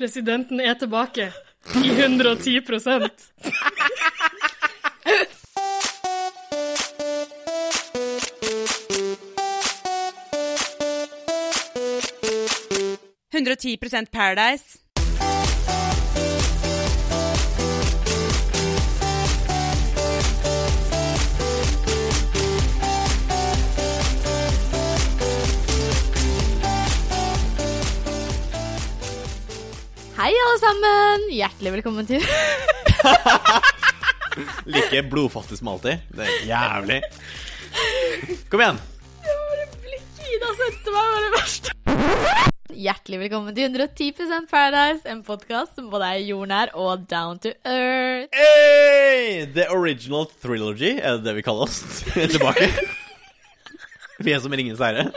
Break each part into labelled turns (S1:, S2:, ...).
S1: Presidenten er tilbake i 110
S2: 110 Paradise.
S3: Hei, alle sammen! Hjertelig velkommen til
S4: Like blodfattig som alltid. Det er jævlig. Kom igjen.
S3: Ida sendte meg, var det verste. Hjertelig velkommen til 110 Paradise, en podkast som både er jordnær og down to earth.
S4: Hey! The original trilogy, er det det vi kaller oss? Tilbake. Vi er som Ringenes herre.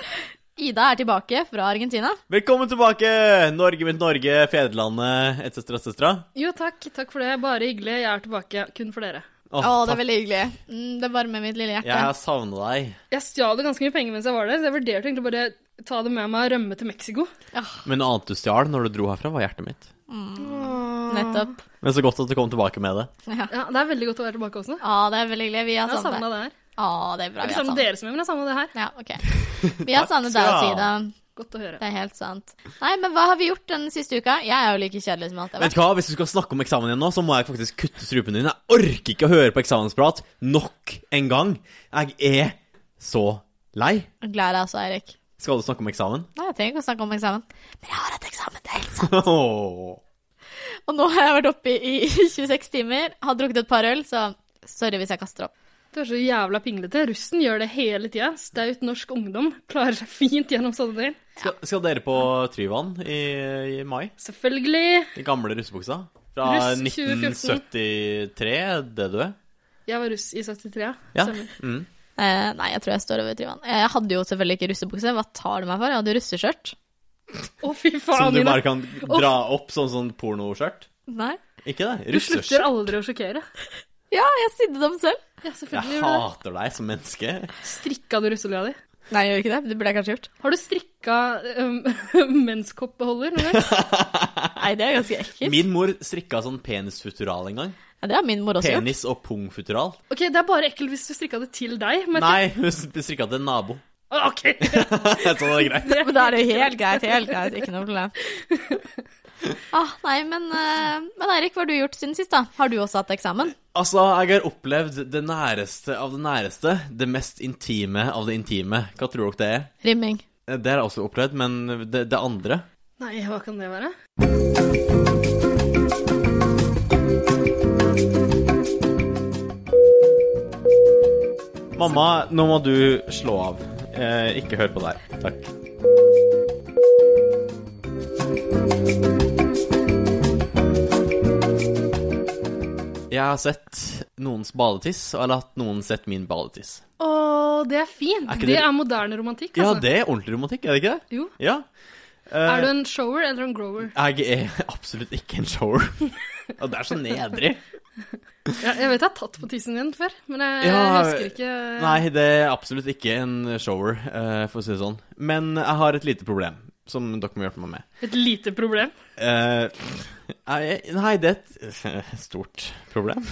S3: Ida er tilbake fra Argentina.
S4: Velkommen tilbake! Norge mitt Norge, fedrelandet, etc., etc.
S1: Jo, takk. Takk for det. Bare hyggelig. Jeg er tilbake kun for dere.
S3: Å, det er veldig hyggelig. Mm, det varmer mitt lille hjerte.
S4: Jeg har savna deg.
S1: Jeg stjal det ganske mye penger mens jeg var der, så jeg vurderte egentlig bare ta det med meg og rømme til Mexico.
S4: Men noe annet du stjal når du dro herfra, var hjertet mitt.
S3: Nettopp.
S4: Men så godt at du kom tilbake med det.
S1: Ja, Det er veldig godt å være tilbake også.
S3: Å, det er veldig hyggelig. Vi har
S1: Jeg har
S3: savnet
S1: savna
S3: deg.
S1: det her.
S3: Å, det er
S1: Jeg
S3: bra.
S1: har ikke savna
S3: Vi har savnet
S1: dere så mye, men jeg savna det her.
S3: Ja, ok. Vi har savnet deg også,
S4: skal du
S3: Ida.
S1: Godt å høre.
S3: Det er helt sant. Nei, men hva har vi gjort den siste uka? Jeg er jo like kjedelig som alt jeg har
S4: Vet du hva, Hvis du skal snakke om eksamen igjen nå, så må jeg faktisk kutte strupen din. Jeg orker ikke å høre på eksamensprat nok en gang. Jeg er så lei.
S3: vært. Glad i deg også, Eirik.
S4: Skal du snakke om eksamen?
S3: Nei, jeg trenger ikke å snakke om eksamen. Men jeg har hatt eksamen, det er helt sant.
S4: Åh.
S3: Og nå har jeg vært oppe i 26 timer, har drukket et par øl, så sorry hvis jeg kaster opp.
S1: Du er så jævla pinglete. Russen gjør det hele tida. Staut norsk ungdom klarer seg fint gjennom sånne ting.
S4: Skal, skal dere på Tryvann i, i mai?
S1: Selvfølgelig.
S4: I gamle russebuksa? Fra
S1: Russ 2014.
S4: 1973, det du er?
S1: Jeg var russ i 73, ja.
S4: Ja.
S1: Stemmer.
S4: Mm.
S3: Eh, nei, jeg tror jeg står over Tryvann. Eh, Jeg hadde jo selvfølgelig ikke russebukse, hva tar du meg for? Jeg hadde russeskjørt.
S1: Å, fy
S4: Som
S1: faen,
S4: du
S1: Ina.
S4: bare kan dra opp sånn sånn pornoskjørt?
S3: Nei.
S4: Ikke det?
S1: Du slutter
S4: Russeskjørt.
S1: aldri å sjokkere.
S3: Ja, jeg sydde dem selv.
S1: Ja, selvfølgelig
S4: Jeg
S1: gjør du det.
S4: hater deg som menneske.
S1: Strikka du russelua di?
S3: Nei, jeg gjør ikke det. Det burde jeg kanskje gjort.
S1: Har du strikka um, menskoppbeholder noen gang?
S3: Nei, det er ganske ekkelt.
S4: Min mor strikka sånn penisfutural en gang.
S3: Ja, det har min mor også gjort.
S4: Penis- og pungfutural.
S1: Ok, det er bare ekkelt hvis du strikka det til deg. Men
S4: Nei, hun strikka til en nabo.
S1: Å, Ok,
S4: Så det er greit.
S3: Men da er det jo helt greit, helt greit. Ikke noe problem. Ah, nei, men, eh, men Eirik, hva har du gjort siden sist, da? Har du også hatt eksamen?
S4: Altså, jeg har opplevd det næreste av det næreste. Det mest intime av det intime. Hva tror dere det er?
S3: Rimming.
S4: Det har jeg også opplevd, men det, det andre
S1: Nei, hva kan det være?
S4: Mamma, nå må du slå av. Eh, ikke hør på der. Takk. Jeg har sett noens badetiss, og eller at noen sett min badetiss.
S1: Å, det er fint.
S4: Er ikke
S1: det...
S4: det-
S1: er moderne romantikk,
S4: Ja,
S1: altså.
S4: det er ordentlig romantikk, er det ikke det?
S1: Jo.
S4: Ja. Eh,
S1: Er du en shower eller en grower?
S4: Jeg er absolutt ikke en shower. Og det er så nedrig.
S1: Jeg, jeg vet jeg har tatt på tissen din før, men jeg, jeg
S4: Ja,
S1: husker ikke
S4: Nei, det er absolutt ikke en shower, eh, for å si det sånn. Men jeg har et lite problem, som dere må hjelpe meg med.
S1: Et lite problem.
S4: Eh, jeg- nei, det er et eh, stort problem.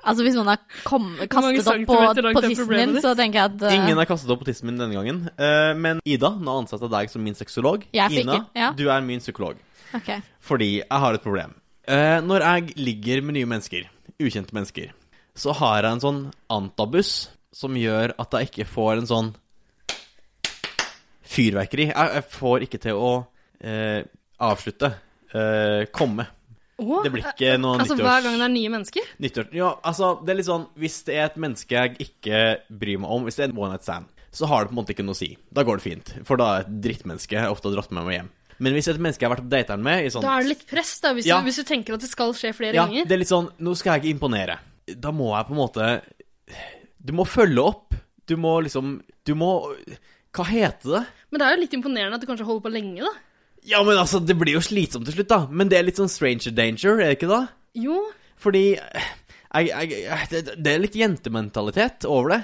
S3: Altså, hvis noen har kom, kastet opp på,
S1: centimeter langt
S3: på
S1: er
S3: tissen
S1: problemet
S3: din,
S1: ditt?
S3: så tenker jeg at eh,
S4: Ingen har kastet opp på tissen min denne gangen. Eh, men Ida, nå ansetter jeg deg som min sexolog.
S3: Jeg fikk-
S4: Ina,
S3: ja.
S4: du er min psykolog.
S3: Ok.
S4: Fordi jeg har et problem. Eh, når jeg ligger med nye mennesker, ukjente mennesker, så har jeg en sånn antabus som gjør at jeg ikke får en sånn fyrverkeri. Jeg, jeg får ikke til å eh, avslutte. Eh, komme.
S1: Å,
S4: Det blir ikke noe
S1: Altså, hver gang det er nye mennesker?
S4: Nyttår. Ja, altså, det er litt sånn Hvis det er et menneske jeg ikke bryr meg om, hvis det er en one night stand, så har det på en måte ikke noe å si. Da går det fint. For da er et drittmenneske jeg ofte har dratt med meg hjem. Men hvis det er et menneske jeg har vært på dateren med i sånn
S1: Da er det litt press, da, hvis,
S4: Ja.
S1: du, hvis du tenker at det skal skje flere
S4: Ja,
S1: ganger.
S4: det er litt sånn Nå skal jeg ikke imponere. Da må jeg på en måte Du må følge opp. Du må liksom Du må Hva heter det?
S1: Men det er jo litt imponerende at du kanskje holder på lenge, da.
S4: Ja, men altså, det blir jo slitsomt til slutt, da. Men det er litt sånn stranger danger, er det ikke da?
S1: Jo,
S4: Fordi jeg, jeg, jeg, det, det er litt jentementalitet over det.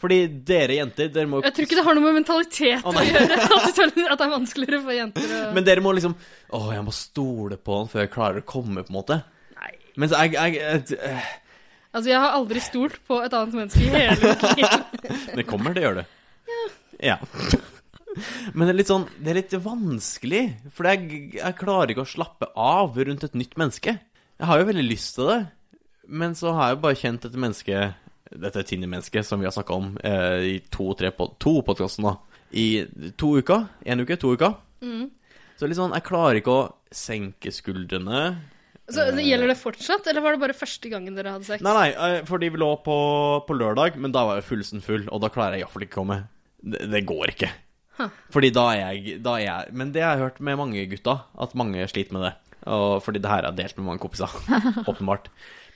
S4: Fordi dere jenter, dere må
S1: Jeg tror ikke det har noe med mentalitet
S4: Å,
S1: å
S4: nei.
S1: gjøre, at, du føler at det er vanskeligere for jenter å
S4: Men dere må liksom Å, jeg må stole på han før jeg klarer å komme, på en måte.
S1: Nei.
S4: Mens jeg, jeg, jeg
S1: Altså, jeg har aldri stolt på et annet menneske i hele mitt liv.
S4: Det kommer, det gjør det. Ja. Men det er litt sånn Det er litt vanskelig, for jeg, jeg klarer ikke å slappe av rundt et nytt menneske. Jeg har jo veldig lyst til det, men så har jeg jo bare kjent dette mennesket Dette Tinder-mennesket som vi har snakka om eh, i to-tre pod to podkaster nå, i to uker. Én uke, to uker. Så litt sånn Jeg klarer ikke å senke skuldrene.
S1: Så gjelder det fortsatt, eller var det bare første gangen dere hadde sex?
S4: Nei, nei, eh, fordi vi lå på, på lørdag, men da var jeg fullsten full, og da klarer jeg iallfall ikke å komme. Det, det går ikke. Fordi da er, jeg, da er jeg Men det har jeg hørt med mange gutta, at mange sliter med det. Og fordi det her er delt med mange kompiser, åpenbart.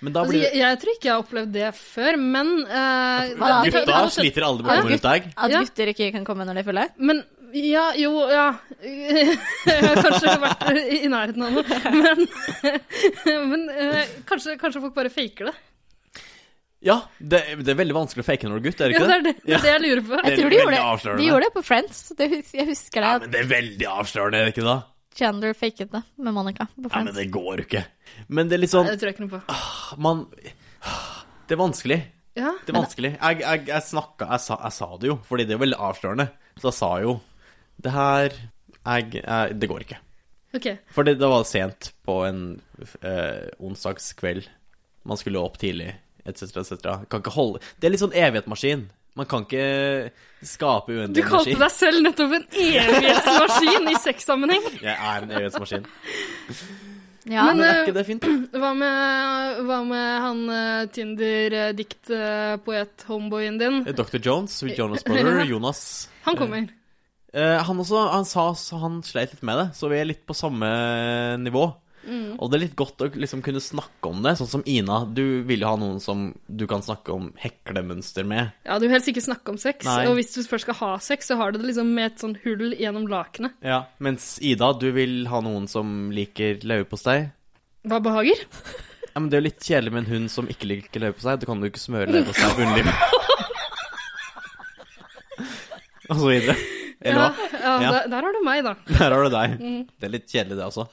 S4: Men da
S1: Altså,
S4: blir
S1: jeg, jeg tror ikke jeg har opplevd det før, men eh,
S3: Hva da?
S1: det- det- det
S4: Gutta
S1: har skjedd-
S4: sliter aldri med å komme rundt deg.
S3: At
S1: Ja.
S3: gutter ikke kan komme når de er fulle?
S1: Men ja, jo, ja Jeg har kanskje vært i i nærheten av noe. Men, men eh, kanskje, kanskje folk bare faker det.
S4: Ja, det, det er veldig vanskelig å fake når du er gutt, er
S1: Ja,
S4: det ikke
S1: det er det, det,
S4: Ja.
S1: er det jeg lurer på.
S4: Det
S3: Jeg tror
S4: er
S3: de gjorde
S4: veldig
S3: det.
S4: avslørende.
S3: De gjorde det på Friends. Det, hus- jeg husker det.
S4: Ja,
S3: at
S4: men det er veldig avslørende, er det ikke da?
S3: Chandler faket det med Monica på
S4: Ja, men
S3: Friends.
S4: det går jo ikke. Men det er litt sånn
S1: Det tror jeg ikke noe på.
S4: Man Det er vanskelig.
S1: Ja.
S4: Det er vanskelig. Jeg, jeg, jeg snakka jeg sa, jeg sa det jo, fordi det er jo veldig avslørende. Så jeg sa jo Det her jeg, jeg, Det går ikke.
S1: Ok.
S4: For det, det var sent på en eh, onsdagskveld. Man skulle opp tidlig, etc., etc. Kan ikke holde Det er litt sånn evighetsmaskin. Man kan ikke skape
S1: Du
S4: uendelig energi.
S1: kalte deg selv nettopp en evighetsmaskin i sexsammenheng.
S4: Jeg er en evighetsmaskin.
S3: Ja,
S1: Men,
S4: Men er
S1: eh,
S4: ikke det fint?
S1: Hva med, hva med han eh, Tinder-dikt-poet-homeboyen din?
S4: Dr. Eh, Jones, Sweet Jonas Brother, Jonas
S1: Han kommer.
S4: Eh, han også, han sa så han sleit litt med det, så vi er litt på samme nivå. Og det er litt godt å liksom kunne snakke om det, sånn som Ina. Du vil jo ha noen som du kan snakke om heklemønster med.
S1: Ja, Du vil helst ikke snakke om sex,
S4: Nei.
S1: og hvis du først skal ha sex, så har du det liksom med et sånn hull gjennom lakenet.
S4: Ja. Mens Ida, du vil ha noen som liker leverpostei.
S1: Hva behager?
S4: Ja, men det er jo litt kjedelig med en hund som ikke liker leverpostei. Du kan jo ikke smøre leverpostei på underlivet. Og så videre. Eller
S1: Ja,
S4: hva?
S1: ja,
S4: Ja.
S1: Der, der har du meg, da.
S4: Der har du deg. Det er litt kjedelig, det også.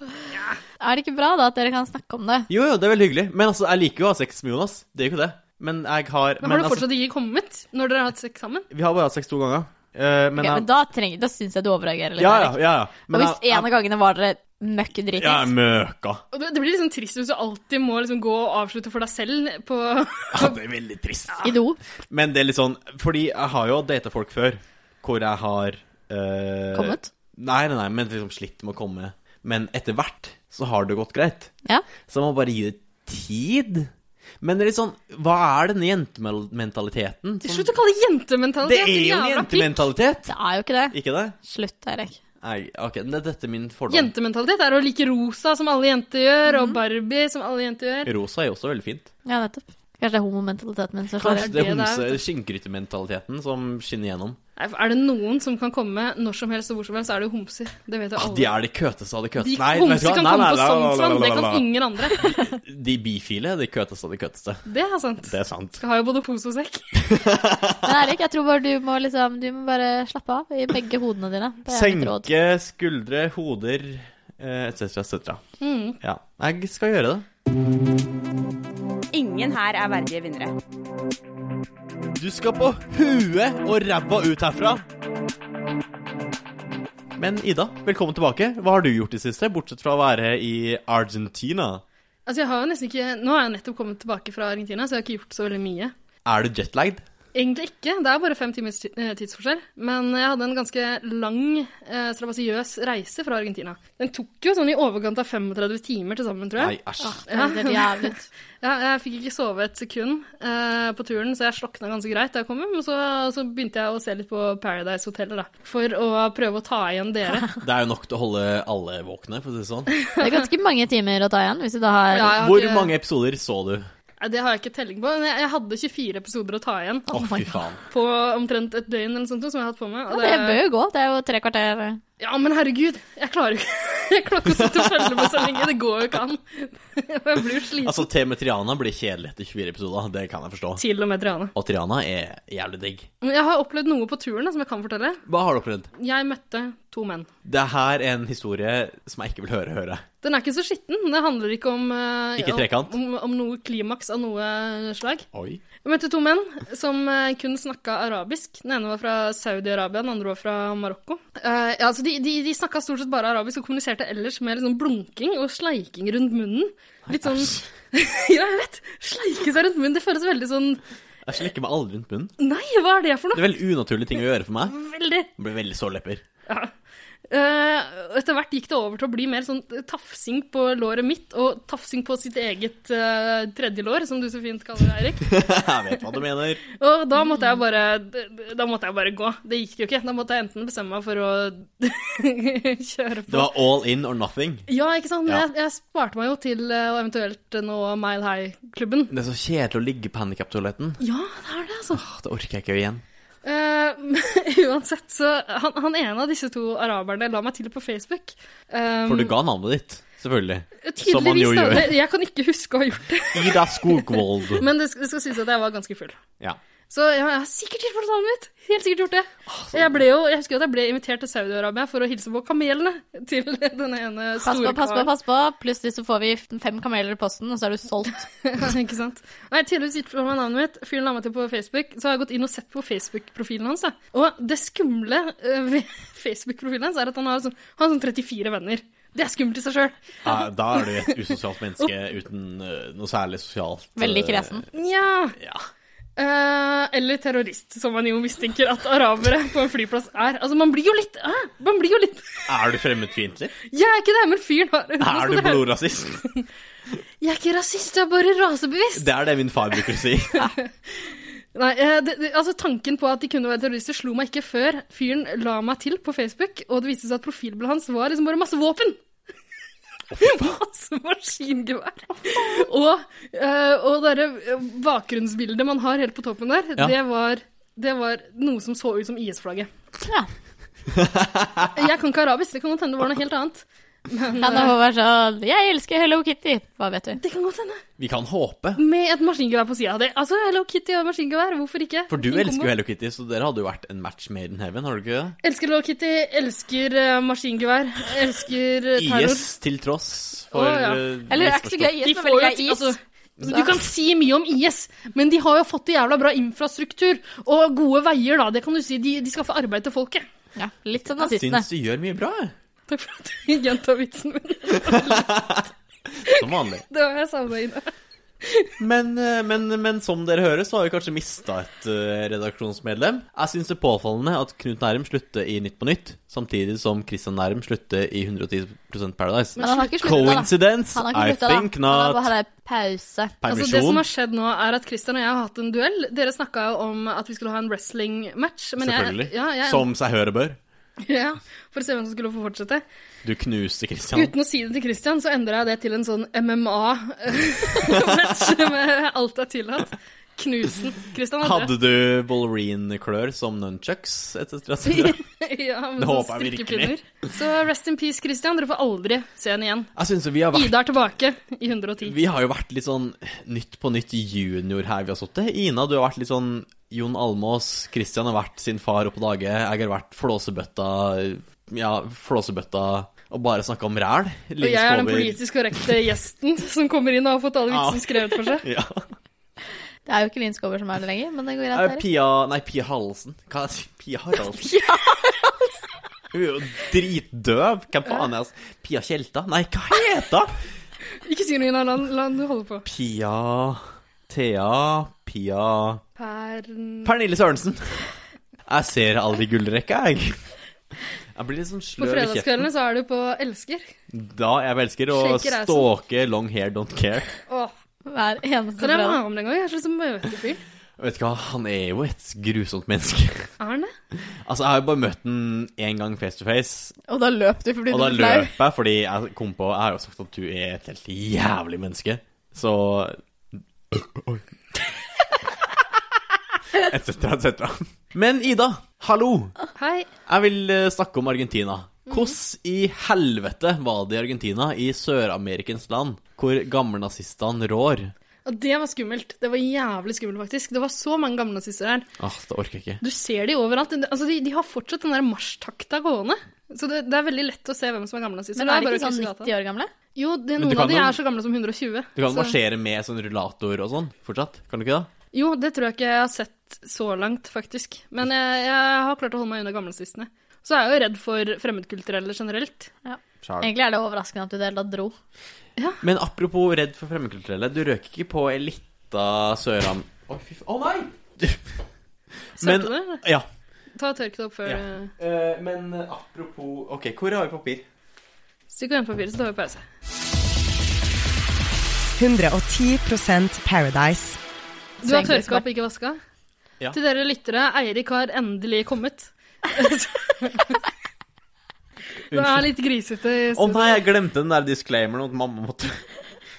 S3: er det ikke bra da at dere kan snakke om det?
S4: Jo, jo, det er veldig hyggelig. Men altså, jeg liker jo å ha sex med Jonas. Det er jo ikke det. Men jeg har
S1: Men,
S4: men,
S1: har du
S4: altså,
S1: fortsatt ikke kommet når dere har hatt sex sammen?
S4: Vi har bare hatt sex to ganger. Eh, men
S3: Ok,
S4: jeg-
S3: men da, trenger, da syns jeg du overreagerer litt.
S4: ja, ja,
S3: Erik.
S4: ja, ja. Men
S3: og hvis
S4: jeg-
S3: en av gangene var dere møkk
S4: jeg- Jeg er
S3: dritings
S4: møka.
S1: Og det, det blir liksom trist hvis du alltid må liksom gå og avslutte for deg selv på
S4: Ja, det er veldig trist.
S3: i do,
S4: Men det er litt sånn Fordi jeg har jo data folk før hvor jeg har eh,
S3: kommet
S4: Nei, nei, nei, men liksom slitt med å komme. Men etter hvert så har det gått greit.
S3: Ja.
S4: Så man må bare gi det tid. Men det er litt sånn Hva er denne jentementaliteten?
S1: Til
S4: som-
S1: slutt å kalle det
S4: det
S1: jentementalitet!
S4: er jo en
S1: jævla pikk.
S4: jentementalitet!
S3: Det er jo ikke det.
S4: Ikke det?
S3: Slutt, Eirik.
S4: Nei, ok, men det er dette min fordom.
S1: Jentementalitet er å like rosa, som alle jenter gjør,
S4: Mhm.
S1: og Barbie, som alle jenter gjør.
S4: Rosa er jo også veldig fint.
S3: Ja, nettopp. Kanskje det er homomentaliteten min som slår
S4: Kanskje
S3: inn.
S4: det
S1: det
S4: er
S1: det er,
S4: homse
S1: vet du.
S4: skinngrytementaliteten som skinner gjennom.
S1: Nei, for Er det noen som kan komme når som helst og hvor som helst, så er det jo homser. Det vet jo
S4: Ah,
S1: alle.
S4: de er de køteste av de køteste.
S1: De
S4: Nei, vet du
S1: homser
S4: hva?
S1: kan
S4: Nei,
S1: komme på
S4: nei, nei, nei,
S1: sånn,
S4: nei,
S1: det
S4: nei,
S1: kan
S4: nei,
S1: ingen andre.
S4: nei. De bifile er de køteste av de køteste.
S1: Det er sant.
S4: Det er sant.
S1: Skal ha jo både pose og sekk.
S3: Men Eirik, jeg tror bare du må liksom Du må bare slappe av i begge hodene dine. Det er mitt råd.
S4: Senke skuldre, hoder, eh, etc., etc.
S1: Mm.
S4: Ja, jeg skal gjøre det.
S2: Ingen her er verdige vinnere.
S4: Du skal på huet og ræva ut herfra. Men Ida, velkommen tilbake. Hva har du gjort i det siste, bortsett fra å være i Argentina?
S1: Altså, jeg har jo nesten ikke Nå har jeg nettopp kommet tilbake fra Argentina, så jeg har ikke gjort så veldig mye.
S4: Er du jetlagd?
S1: Egentlig ikke. Det er bare fem timers ti- eh, tidsforskjell. Men jeg hadde en ganske lang, eh, strabasiøs reise fra Argentina. Den tok jo sånn i overkant av 35 timer til sammen, tror
S4: Nei,
S1: jeg.
S4: æsj.
S3: Det høres helt jævlig ut.
S1: Ja, jeg fikk ikke sove et sekund eh, på turen, så jeg slokna ganske greit da jeg kom hjem. Og så, så begynte jeg å se litt på Paradise Hotel, da. For å prøve å ta igjen dere.
S4: Det er jo nok til å holde alle våkne, for å si det sånn.
S3: Det er ganske mange timer å ta igjen hvis du da har
S1: Ja, jeg har
S4: Hvor
S1: ikke-
S4: mange episoder så du?
S1: Nei, Det har jeg ikke telling på. Men jeg, jeg hadde 24 episoder å ta igjen
S4: Å,
S3: Oh my
S4: fy
S3: God.
S4: faen.
S1: på omtrent et døgn eller sånt, som jeg har hatt på meg.
S3: Ja,
S1: Og
S3: Det
S1: det,
S3: bør jo gå. Det er jo tre kvarter.
S1: ja, men herregud, jeg klarer jo ikke Jeg klarer ikke å sitte og følge med så lenge. Det går jo ikke an. Og jeg blir jo sliten.
S4: Altså, til og med Triana blir kjedelig etter 24 episoder, det kan jeg forstå.
S1: Til og med Triana.
S4: Og Triana er jævlig digg.
S1: Men jeg har opplevd noe på turen da, som jeg kan fortelle.
S4: Hva har du opplevd?
S1: Jeg møtte to menn.
S4: Det her er en historie som jeg ikke vil høre høre.
S1: Den er ikke så skitten. Det handler ikke om eh,
S4: Ikke trekant?
S1: Om, om noe klimaks av noe slag.
S4: Oi.
S1: Jeg møtte to menn som eh, kun snakka arabisk. Den ene var fra Saudi-Arabia, den andre var fra Marokko. Eh, ja, altså de de, de snakka stort sett bare arabisk og kommuniserte ellers med liksom blunking og sleiking rundt munnen. Litt sånn Ja, jeg vet! Sleike seg rundt munnen. Det føles veldig sånn
S4: Jeg slikker meg aldri rundt munnen.
S1: Nei, hva er det for
S4: Det
S1: noe?
S4: er veldig unaturlige ting å gjøre for meg.
S1: Veldig.
S4: Jeg blir veldig sårlepper.
S1: Ja. Eh, etter hvert gikk det over til å bli mer sånn tafsing på låret mitt og tafsing på sitt eget eh, tredje lår, som du så fint kaller det, Eirik.
S4: Jeg vet hva du mener.
S1: Og da måtte jeg bare Da måtte jeg bare gå. Det gikk jo ikke. Da måtte jeg enten bestemme meg for å kjøre
S4: Det
S1: på.
S4: var all in or nothing.
S1: Ja, ikke sant.
S4: Ja.
S1: Jeg, jeg sparte meg jo til eh, å eventuelt nå Mile High-klubben.
S4: Det er så kjedelig å ligge på handikaptoaletten.
S1: Ja, det er det, altså.
S4: Det orker jeg ikke igjen.
S1: Eh, uansett, så han, han ene av disse to araberne la meg til på Facebook. Um,
S4: For du ga navnet ditt, selvfølgelig. som man
S1: tydeligvis,
S4: jo
S1: da.
S4: gjør.
S1: Det- Jeg kan ikke huske å ha gjort det.
S4: Ida Skogvold.
S1: Men det, skal- det skal sies at jeg var ganske full.
S4: Ja.
S1: Så ja, jeg har sikkert gjort portalen mitt. Helt sikkert gjort det. Jeg, ble jo, jeg husker at jeg ble invitert til Saudi-Arabia for å hilse på kamelene til denne ene
S3: Pass på,
S1: store
S3: pass på,
S1: karen.
S3: pass på. Plutselig så får vi fem kameler i posten, og så er du solgt.
S1: Ikke sant? Og jeg har tydeligvis gitt fra meg navnet mitt. Fyren la meg til på Facebook. Så har jeg gått inn og sett på Facebook-profilen hans. Da. Og det skumle eh, ved Facebook-profilen hans er at han har sånn, han har sånn 34 venner. Det er skummelt i seg sjøl.
S4: ja. Eh, Da er du et usosialt menneske uten eh, noe særlig sosialt eh,
S3: Veldig kresen.
S1: Nja.
S4: Ja.
S1: Eh, eller terrorist, som man jo mistenker at arabere på en flyplass er. Altså, man blir jo litt Hæ? Man blir jo litt
S4: Er du fremmedfiendtlig?
S1: Jeg er ikke det, men fyren har sånn
S4: Er du blodrasist?
S1: Jeg er ikke rasist, jeg er bare rasebevisst.
S4: Det er det min far bruker å si.
S1: Nei, eh, det, det, altså Tanken på at de kunne være terrorister, slo meg ikke før fyren la meg til på Facebook, og det viste seg at profilbildet hans var liksom bare masse våpen. masse maskingevær. og eh, og det derre bakgrunnsbildet man har helt på toppen der,
S4: Ja.
S1: det, var, det var noe som så ut som IS-flagget.
S3: Ja.
S1: Jeg kan ikke arabisk, det kan godt hende det var noe helt annet. Men
S3: Han og
S1: eh,
S3: Håvard sånn Jeg elsker Hello Kitty! Hva vet du?
S1: det kan godt hende.
S4: Vi kan håpe.
S1: Med et maskingevær på sida. Altså, Hello Kitty og maskingevær, hvorfor ikke?
S4: For du
S1: Fin
S4: elsker
S1: kombo.
S4: jo Hello Kitty, så dere hadde jo vært en match made in heaven, har du ikke det?
S1: Elsker Hello Kitty, elsker eh, maskingevær, elsker eh, terror.
S4: IS til tross for
S1: Å, ja.
S4: eh,
S3: Eller det er ikke så glad i
S1: De
S3: is, men
S1: får
S3: veldig
S1: jo
S3: glad i
S1: ti-
S3: is.
S1: altså, du kan si mye om IS, men de har jo fått jævla bra infrastruktur og gode veier, da. Det kan du si. De, de skaffer arbeid til folket.
S3: Ja, litt sånn, som
S4: Jeg
S3: nazistene.
S4: syns du gjør mye bra, jeg.
S1: Takk for at du gjenta vitsen min.
S4: som vanlig.
S1: Det var jeg savna inne.
S4: Men, eh, men, men som dere hører, så har vi kanskje mista et eh, redaksjonsmedlem. Jeg syns det er påfallende at Knut Nærum slutter i Nytt på Nytt, samtidig som Christian Nærum slutter i 110 Paradise.
S3: Men han har ikke sluttet, da.
S4: Coincidence?
S3: Han har
S4: I
S3: ikke slutta, da.
S4: think
S3: Han har bare
S4: not.
S3: hatt en
S1: Altså,
S3: pause.
S1: det som
S4: Permisjon.
S1: har skjedd nå, er at Christian og jeg har hatt en duell. Dere snakka jo om at vi skulle ha en wrestling-match. men jeg-
S4: Selvfølgelig.
S1: Ja, jeg,
S4: Som seg hør og bør.
S1: ja, for å se hvem som skulle få fortsette.
S4: Du knuser Christian.
S1: Uten å si det til Christian, så endra jeg det til en sånn MMA-match med alt eh, er tillatt. Knusen. Christian hadde
S4: Hadde du Bollerine-klør som nunchucks? Et cetera, et cetera?
S1: ja, med
S4: Det
S1: sånne
S4: håper jeg
S1: strikkepinner. Så rest in peace, Christian. Dere får aldri se henne igjen.
S4: Jeg syns jo vi har vært
S1: Ida er tilbake i 110.
S4: Vi har jo vært litt sånn Nytt på nytt junior her vi har sittet. Ina, du har vært litt sånn Jon Almås. Christian har vært sin far oppå dage. Jeg har vært flåsebøtta Ja, flåsebøtta og bare snakka om ræl.
S1: Og jeg er den politisk korrekte gjesten som kommer inn og har fått alle
S4: Ja.
S1: vitsene skrevet for seg.
S4: Ja.
S3: Det er jo ikke Linn Skåber som er det lenger, men det går
S4: Eh,
S3: greit.
S4: Pia Nei, Pia Haraldsen. Hva er det? Pia Haraldsen?
S3: Pia
S4: Hun er jo dritdøv. Hvem faen er det? Pia Tjelta? Nei, hva heter hun?
S1: Ikke si noe, Ina. La, la du holde på.
S4: Pia Thea Pia
S1: Pern...
S4: Pernille Sørensen. Jeg ser aldri gullrekka, jeg. Jeg blir litt sånn
S1: På
S4: sløv i kjeften.
S1: fredagskveldene så er du på Elsker.
S4: Da er jeg velsker å
S1: Shaker assen.
S4: stalke long hair don't care.
S1: Åh,
S3: Hver eneste
S1: Kan jeg
S3: fredag.
S1: ha med den en gang? Jeg har så lyst til å møte fyren.
S4: Vet du hva, han er jo et grusomt menneske.
S1: Er han det?
S4: Altså, jeg har jo bare møtt den én gang face to face,
S3: Og da løp du fordi
S4: og
S3: du
S4: da
S3: ble flau.
S4: løp jeg fordi jeg kom på Jeg har jo sagt at du er et helt jævlig menneske, så Oi. Et cetera, et cetera. Men Ida, hallo!
S1: Hei.
S4: Jeg vil eh, snakke om Argentina.
S1: Mm.
S4: Hvordan i helvete var det i Argentina, i Sør-Amerikens land, hvor gammelnazistene rår?
S1: Og det var skummelt. Det var jævlig skummelt, faktisk. Det var så mange gamle nazister her.
S4: Ah, det orker jeg ikke.
S1: Du ser de overalt. Det- Altså, de, de har fortsatt den der marsjtakta gående. Så det, det er veldig lett å se hvem som er gamle nazister.
S3: Men
S1: Det
S3: er de
S1: bare å
S3: ikke sånn
S1: krysse gata.
S3: 90 år gamle?
S1: Jo, det,
S4: du
S1: noen
S4: kan
S1: av de
S4: jo-
S1: er så gamle som 120.
S4: Du kan
S1: så-
S4: marsjere med sånn rullator og sånn fortsatt, kan du ikke det?
S1: Jo, det tror jeg ikke jeg har sett så langt, faktisk. Men jeg, jeg har klart å holde meg unna gamlesistene. Så er jeg jo redd for fremmedkulturelle generelt.
S3: Egentlig er det overraskende at du i det hele tatt dro.
S4: Men apropos redd for fremmedkulturelle, du røk ikke på ei lita Søram... Å, fy faen. Å, nei!
S1: Sørte
S4: Men-
S1: du?
S4: Ja.
S1: Ta og tørk det opp før
S4: Ja.
S1: du-
S4: Eh, men apropos OK, hvor har vi papir?
S1: Stikk og vend papiret, så tar vi pause.
S5: 110 Paradise.
S1: Du har
S3: Trenger
S1: tørka opp, ikke vaska?
S4: Ja.
S1: Til dere lyttere, Eirik har endelig kommet. Det er litt grisete. i
S4: Å nei, jeg glemte den der disclaimeren om at mamma måtte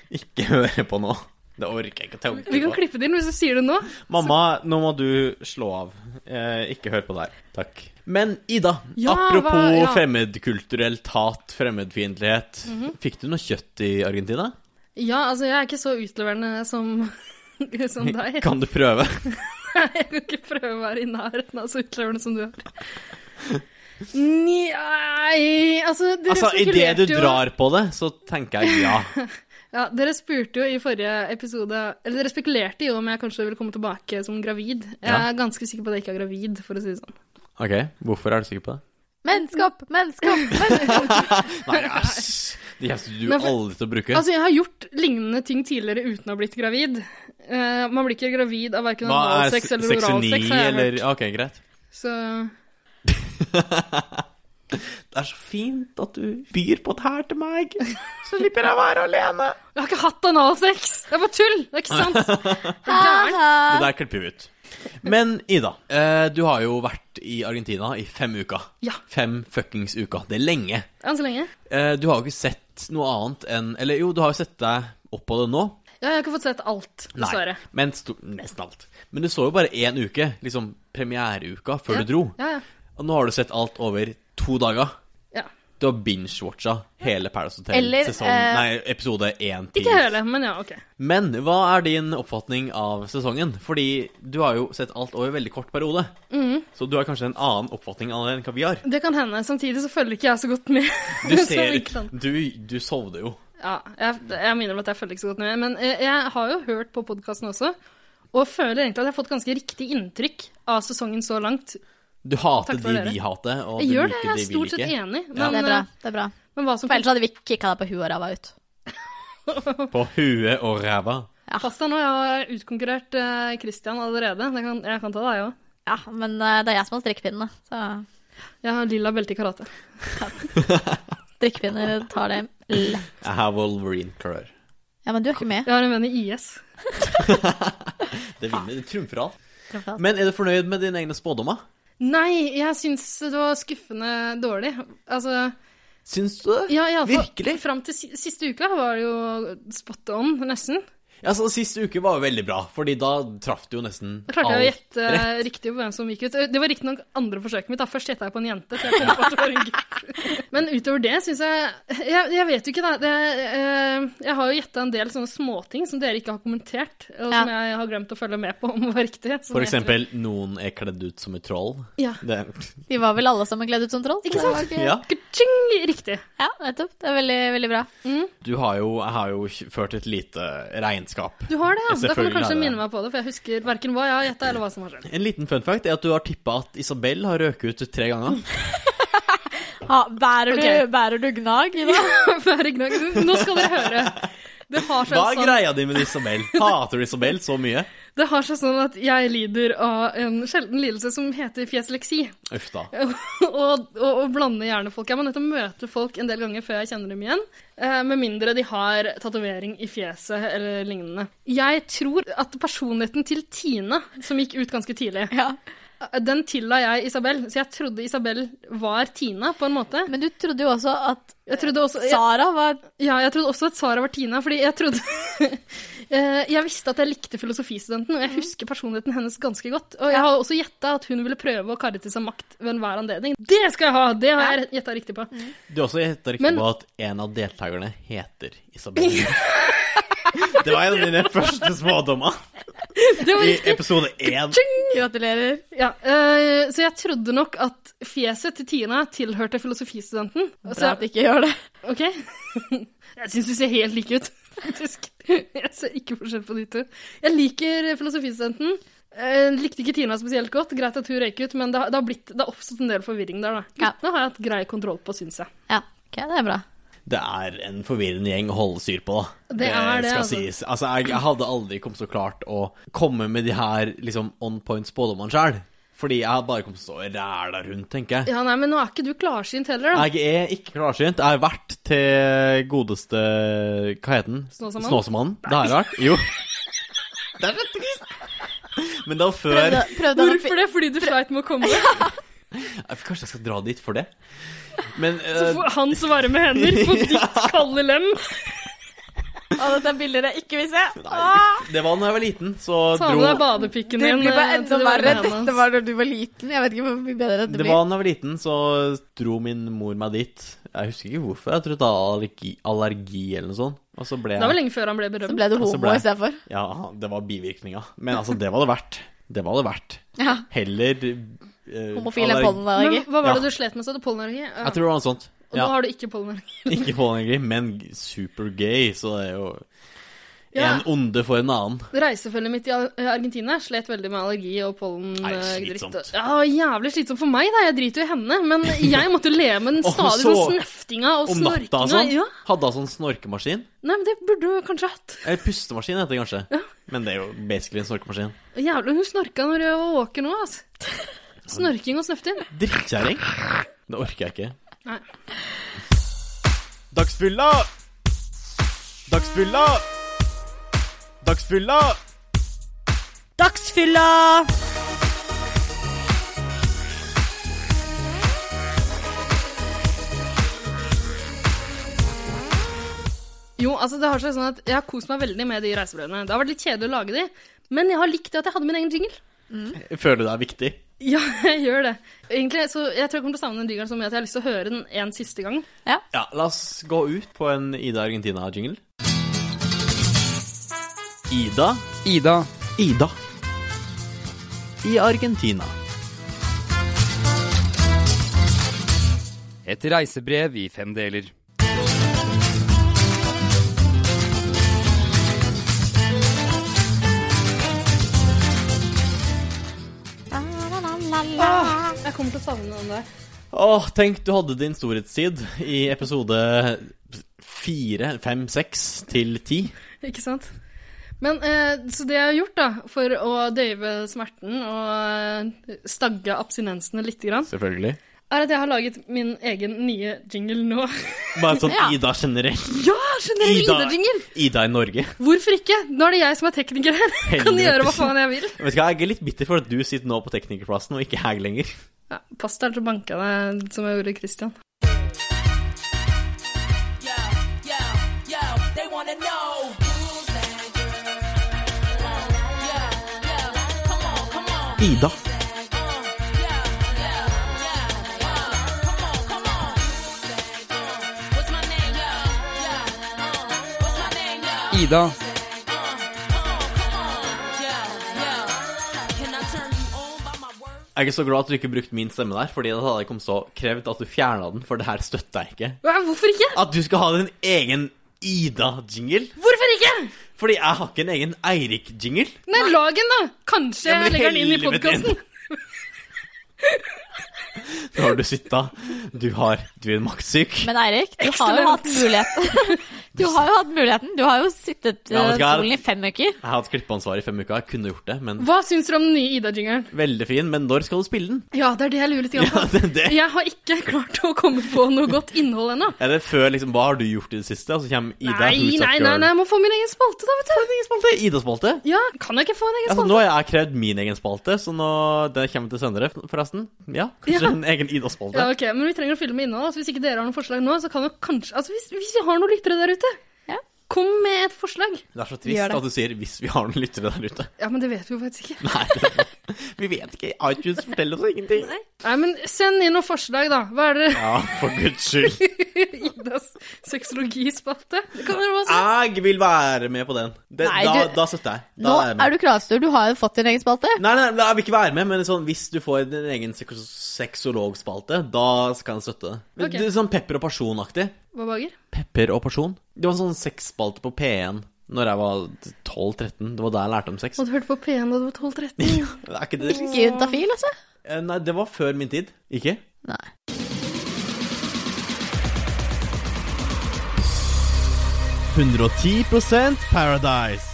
S4: ikke høre på nå. Det orker jeg ikke å
S1: stedet. Vi
S4: tenke
S1: kan
S4: på.
S1: klippe det inn hvis du sier det nå.
S4: Mamma, nå må du slå av. Eh, ikke hør på det her. Takk. Men Ida,
S1: Ja,
S4: apropos
S1: hva- ja.
S4: fremmedkulturelt hat, fremmedfiendtlighet.
S1: Mhm.
S4: Fikk du noe kjøtt i Argentina?
S1: Ja, altså, jeg er ikke så utleverende som, som deg.
S4: Kan du prøve?
S1: Jeg kan ikke prøve å være i nærheten av så utlevende som du er. Nei Altså, dere
S4: Altså, Idet du
S1: spekulerte jo-
S4: drar på det, så tenker jeg ja.
S1: Ja, Dere spurte jo i forrige episode Eller dere spekulerte jo om jeg kanskje ville komme tilbake som gravid. Jeg
S4: Ja.
S1: er ganske sikker på at jeg ikke er gravid, for å si det sånn.
S4: Ok, Hvorfor er du sikker på det?
S3: Menneske opp, menneske opp, menneske opp!
S4: Nei, æsj! De kjefter du
S1: Men for-
S4: aldri til å bruke.
S1: Altså, jeg har gjort lignende ting tidligere uten å ha blitt gravid. Eh, man blir ikke gravid av verken
S4: Hva er
S1: analsex eller oralsex,
S4: 69
S1: har jeg
S4: eller
S1: hørt.
S4: Ok, greit.
S1: Så
S4: Det er så fint at du byr på det her til meg, så slipper jeg å være alene.
S1: Jeg har ikke hatt analsex! Det er bare tull! Det er ikke sant.
S4: Det der klipper vi ut. Men Ida, eh, du har jo vært i Argentina i fem uker.
S1: Ja.
S4: Fem fuckings uker. Det er lenge.
S1: Enn så lenge.
S4: Eh, du har jo ikke sett noe annet enn Eller jo, du har jo sett deg opp på det nå.
S1: Ja, jeg har ikke fått sett alt, dessverre.
S4: men sto, nesten alt. Men du så jo bare én uke, liksom premiereuka, før du dro.
S1: Ja, ja.
S4: Og nå har du sett alt over to dager.
S1: ja.
S4: Du har binge-watcha hele Paradise Hotel
S3: Eller,
S4: sesong
S3: eh,
S4: Nei, episode én til
S1: Ikke hele, men ja, OK.
S4: Men hva er din oppfatning av sesongen? Fordi du har jo sett alt over en veldig kort periode.
S1: Mhm.
S4: Så du har kanskje en annen oppfatning av det enn hva vi har.
S1: Det kan hende. Samtidig så følger ikke jeg så godt med.
S4: Du
S1: Så
S4: ser
S1: ikke sant.
S4: Du, du sovde jo.
S1: Ja, jeg, jeg minner om at jeg følger ikke så godt med. Men jeg, jeg har jo hørt på podkasten også, og føler egentlig at jeg har fått ganske riktig inntrykk av sesongen så langt.
S4: Du hater
S1: Takk for
S4: de
S1: dere.
S4: vi hater, og
S1: Jeg
S4: du
S1: gjør det,
S4: liker
S1: jeg er
S4: de vi
S1: stort sett
S4: liker.
S1: enig,
S4: Ja.
S1: men, eh,
S3: Det er bra. sånn, det er bra.
S1: men hva som
S3: For ellers hadde vi kikka deg på huet og ræva ut.
S4: På huet og ræva.
S1: Pass deg nå, jeg har utkonkurrert eh, Christian allerede. Jeg kan, jeg kan ta deg òg.
S3: Ja, men eh, det er jeg som har strikkepinne, så
S1: Jeg har lilla belte i karate.
S3: strikkepinner tar det lett.
S4: Jeg har Wolverine-klør.
S3: Ja, men du er ikke med.
S1: Jeg har en venn i IS.
S4: Det vinner. Det trumfer alt.
S3: Trumfer alt.
S4: Men er du fornøyd med dine egne spådommer?
S1: Nei, jeg syns det var skuffende dårlig. Altså
S4: Syns du det?
S1: ja, i alle fall-
S4: Virkelig?
S1: Fram til si- siste uka var det jo spot on, nesten.
S4: Altså, Sist uke var jo veldig bra, Fordi da traff du jo nesten
S1: Da klarte jeg å
S4: alt
S1: gjette
S4: rett.
S1: riktig på hvem som gikk ut. Det var riktignok andre forsøket mitt. da. Først gjetta jeg på en jente. Så jeg kom på at det var en gutt. Men utover det syns jeg Jeg, jeg vet jo ikke, da. Det, eh, jeg har jo gjetta en del sånne småting som dere ikke har kommentert, og som
S3: Ja.
S1: jeg har glemt å følge med på om var riktig. Så
S4: For
S1: jeg gjetter-
S4: eksempel, noen er kledd ut som et troll.
S1: Ja.
S4: Det,
S3: De var vel alle sammen kledd ut som troll? så
S1: Ikke
S3: det
S1: sant?
S3: var ikke-
S4: ja.
S1: Ka-ching! Riktig.
S3: Ja, nettopp. Det er veldig, veldig bra.
S4: Du har jo, jeg har jo ført et lite regnskap.
S1: Du har det, ja. Da kan du
S4: Selvfølgelig har
S1: kanskje
S4: jeg det.
S1: minne meg på det, for jeg husker verken hva jeg har gjetta, eller hva som har skjedd.
S4: En liten fun fact er at du har tippa at Isabel har røket ut tre ganger.
S3: Ha, bærer,
S1: Ok.
S3: du, bærer du gnag i dag?
S1: Bare gnag. Nå skal dere høre. Det har seg
S4: Hva er
S1: sånn
S4: greia di med Isabel? Hater du Isabel så mye?
S1: Det har seg sånn at jeg lider av en sjelden lidelse som heter fjesleksi.
S4: Uff da.
S1: og, og, og blander gjerne folk. Jeg må nødt til å møte folk en del ganger før jeg kjenner dem igjen. eh, Med mindre de har tatovering i fjeset eller lignende. Jeg tror at personligheten til Tine, som gikk ut ganske tidlig,
S3: Ja.
S1: Den tilla jeg Isabel, så jeg trodde Isabel var Tina, på en måte.
S3: Men du trodde jo også at
S1: Jeg trodde også, jeg,
S3: Sara var
S1: ja, jeg trodde også at Sara var Tina, fordi jeg trodde Eh, Jeg visste at jeg likte filosofistudenten, og jeg husker personligheten hennes ganske godt. Og jeg har også gjetta at hun ville prøve å karre til seg makt ved enhver anledning. Det skal jeg ha! Det har jeg gjetta riktig på.
S4: Du har også gjetta riktig
S1: Men-
S4: på at en av deltakerne heter Isabel. Det var en av dine første smådommer
S1: Det var
S4: i
S1: riktig.
S4: episode én.
S3: Gratulerer.
S1: Ja, eh, så jeg trodde nok at fjeset til Tina tilhørte filosofistudenten. Og
S3: Bra
S1: så-
S3: at du ikke gjør det.
S1: Ok. Jeg syns de ser helt like ut, faktisk. Jeg ser ikke forskjell på de to. Jeg liker filosofistudenten. Jeg likte ikke Tina spesielt godt. Greit at hun røyk ut, men det har, det har, blitt, det har oppstått en del forvirring der, da.
S3: Ja.
S1: Guttene har jeg hatt grei kontroll på, syns jeg.
S3: Ja, ok, det er bra.
S4: Det er en forvirrende gjeng å holde styr på. da.
S1: Det er det,
S4: skal
S1: altså.
S4: sies. Altså, jeg, jeg hadde aldri kommet så klart å komme med de her liksom, on point spådommene sjøl. Fordi jeg hadde bare kommet så ræla rundt, tenker jeg.
S1: Ja, nei, men nå er ikke du klarsynt heller, da.
S4: Jeg er ikke klarsynt. Jeg har vært til godeste Hva heter den?
S1: Snåsamannen?
S4: Snåsamannen. Det har jeg vært. Jo. Det er så trist. Men det var før
S3: Prøvde, prøvde han å
S1: Hvorfor det? Fordi du sleit med å komme?
S4: Jeg- Kanskje jeg skal dra dit for det? Men
S1: Så
S4: eh,
S1: får hans varme hender på ditt kalde lem.
S3: fi- Å, dette er bilder jeg ikke vil se. Ah!
S4: nei, det var da jeg var liten, så
S1: Ta
S4: dro
S1: med deg badepikken
S3: Det
S1: din.
S3: blir bare
S1: eh,
S3: enda
S1: til de varme
S3: verre.
S1: hendene hans.
S3: Dette var da du var liten. Jeg vet ikke hvor mye bedre dette
S4: Det
S3: blir.
S4: var da jeg var liten, så dro min mor meg dit. Jeg husker ikke hvorfor. Jeg tror det var allergi, allergi eller noe sånt. Og så ble
S1: Det var
S4: jeg
S1: lenge før han ble
S3: Så
S1: berømt.
S3: ble du
S4: Og så
S3: homo
S4: ble jeg-
S3: istedenfor.
S4: Ja, det var bivirkninger. Men altså, det var det verdt. Det var det verdt.
S3: Ja.
S4: Heller eh,
S3: Homofil enn
S4: allergi-
S1: Men
S3: pollenallergi.
S1: hva var det
S4: Ja.
S1: du slet med, sa du? Pollenallergi? Ja.
S4: Jeg tror det var noe sånt.
S1: Og
S4: Ja,
S1: nå har du ikke pollenallergi.
S4: Ikke pollenallergi, men supergay, så det er jo
S1: Ja.
S4: En onde for en annen.
S1: Reisefølget mitt i Ar- eh, Argentina slet veldig med allergi og
S4: Nei,
S1: pollendritt.
S4: slitsomt.
S1: Ja, jævlig slitsomt for meg, da. Jeg driter jo i henne. Men jeg måtte leve med den
S4: Og
S1: stadig
S4: så-
S1: sånn snøftinga og
S4: Om natta og
S1: snorkinga.
S4: sånn.
S1: Ja.
S4: Hadde hun sånn snorkemaskin?
S1: Nei, men det burde hun kanskje hatt.
S4: Eller pustemaskin heter det kanskje. Men det er jo basically en snorkemaskin.
S1: Jævlig, hun snorka når jeg var våken nå, altså. Snorking og snøfting.
S4: Drittkjerring. Det orker jeg ikke.
S1: Nei.
S4: Dagsfylla! Dagsfylla! Dagsfylla!
S5: Dagsfylla!
S1: Jo, altså det har seg sånn at Jeg har kost meg veldig med de reisebrødene. Det har vært litt kjedelig å lage de, men jeg har likt det at jeg hadde min egen jingle.
S4: Føler du det er viktig?
S1: Ja, jeg gjør det. Egentlig, så Jeg tror jeg kommer til å savne den jingelen så mye at jeg har lyst til å høre den en siste gang.
S4: Ja, la oss gå ut på en Ida Argentina-jingle. Ida
S6: Ida.
S4: Ida i Argentina.
S6: Et reisebrev i fem deler.
S1: Åh, jeg kommer til å savne den der.
S4: Åh, tenk du hadde din storhetstid i episode fire, fem, seks til ti.
S1: Ikke sant? Men eh, Så det jeg har gjort, da, for å døyve smerten og eh, stagge abstinensene litt, grann,
S4: Selvfølgelig.
S1: er at jeg har laget min egen nye jingle nå.
S4: Bare sånn
S3: Ja.
S4: Ida generelt.
S1: Ja, generell Ida-jingle!
S4: Ida i Norge.
S1: Hvorfor ikke? Nå er det jeg som er tekniker her. Kan
S4: Helvete.
S1: gjøre hva faen jeg vil.
S4: Vet du hva, Jeg er litt bitter for at du sitter nå på teknikerplassen, og ikke jeg lenger.
S1: Ja, Pass deg til å banke deg, som jeg gjorde Christian.
S4: Ida.
S6: Ida.
S4: Jeg er så glad at du ikke brukte min stemme der, Fordi da hadde jeg kommet så krevd at du fjerna den, for det her støtter jeg ikke.
S1: Ja, hvorfor ikke?
S4: At du skal ha din egen Ida-jingle.
S1: Hvorfor ikke?
S4: Fordi jeg har ikke en egen Eirik-jingle.
S1: Nei, lag en, da! Kanskje
S4: Ja, men
S1: jeg legger den inn i
S4: helvete.
S1: podkasten.
S4: Nå har du sitta. Du har Du er maktsyk.
S3: Men Eirik, du har jo
S1: Excellent.
S3: hatt muligheten. Du har jo hatt muligheten. Du har jo sittet i
S4: Ja, vet du hva?
S3: stolen i fem uker.
S4: Jeg har hatt klippeansvar i fem uker. Jeg kunne gjort det, men
S1: Hva syns dere om den nye Ida-jingeren?
S4: Veldig fin, men når skal du spille den?
S1: Ja, det er det jeg lurer litt grann
S4: Ja,
S1: på.
S4: det, det.
S1: Jeg har ikke klart å komme på noe godt innhold ennå.
S4: Er det før liksom Hva har du gjort i det siste? Og så kommer Ida.
S1: Nei,
S4: Who's That
S1: nei, nei,
S4: Girl?
S1: nei, jeg må få min egen spalte, da, vet du.
S4: Spalte, Ida-spalte.
S1: Ja, kan jeg ikke få en egen
S4: Altså,
S1: spalte?
S4: nå har jeg krevd min egen spalte, så nå, det kommer til senere, forresten. Ja, kanskje
S1: Ja.
S4: en egen Ida-spalte.
S1: Ja, ok, Men vi trenger å fylle med innhold. Altså, hvis ikke dere har noen forslag nå, så kan jo kanskje Altså, hvis, hvis vi har noen lyttere der ute,
S3: Ja.
S1: kom med et forslag.
S4: Det er så
S3: Gjør
S4: trist
S3: det.
S4: at du sier 'hvis vi har noen lyttere der ute'.
S1: Ja, men det vet vi jo faktisk ikke.
S4: Nei, vi vet ikke. iTunes forteller oss ingenting.
S1: Nei, men send inn noen forslag, da. Hva er det
S4: Ja, for guds skyld.
S1: Idas sexologispalte? Det kan være hva som
S4: Jeg vil være med på den. Det,
S3: Nei,
S4: da,
S3: du-
S4: da støtter jeg. Da
S3: Nå
S4: jeg med.
S3: er du kravstor. Du har jo fått din egen spalte.
S4: Nei, nei, nei, jeg vil ikke være med, men sånn, hvis du får din egen sexo- sexologspalte, da skal jeg støtte det. Men
S1: Ok.
S4: Det er sånn pepper og personaktig.
S1: Hva bager?
S4: Pepper og person? Det var en sånn sexspalte på P1 når jeg var 12-13. Det var da jeg lærte om sex.
S1: Og du hørte på P1 da du var 12-13?
S4: Ja, er ikke det litt-
S3: Juntafil, altså.
S4: Eh, Nei, det var før min tid. Ikke?
S3: Nei.
S4: Paradise.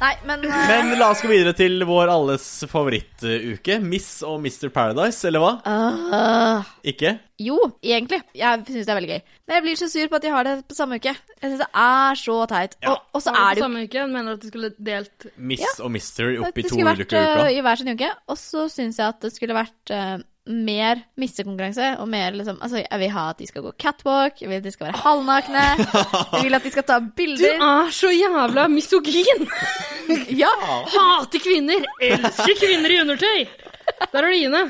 S3: Nei, men, eh,
S4: Men la oss gå videre til vår alles favorittuke. Miss og Mr. Paradise, eller hva?
S3: ah.
S4: Ikke?
S3: Jo, egentlig. Jeg syns det er veldig gøy. Men jeg blir så sur på at de har det på samme uke. Jeg synes det er så teit. Og, og så
S1: Er
S3: er det jo
S1: samme uke? Hun mener at du skulle delt
S4: Miss og Mister
S3: Det
S4: oppi to
S3: skulle
S4: ulike
S3: vært
S4: uker.
S3: eh, i hver sin uke. Og så syns jeg at det skulle vært eh, mer missekonkurranse. Og mer liksom Altså, jeg vil ha at de skal gå catwalk, jeg vil at de skal være halvnakne. Jeg vil at de skal ta
S1: Du
S3: bilder.
S1: er Ah, så jævla misogyn!
S3: Ja!
S1: Hater kvinner! Elsker kvinner i undertøy! Der er det Ine.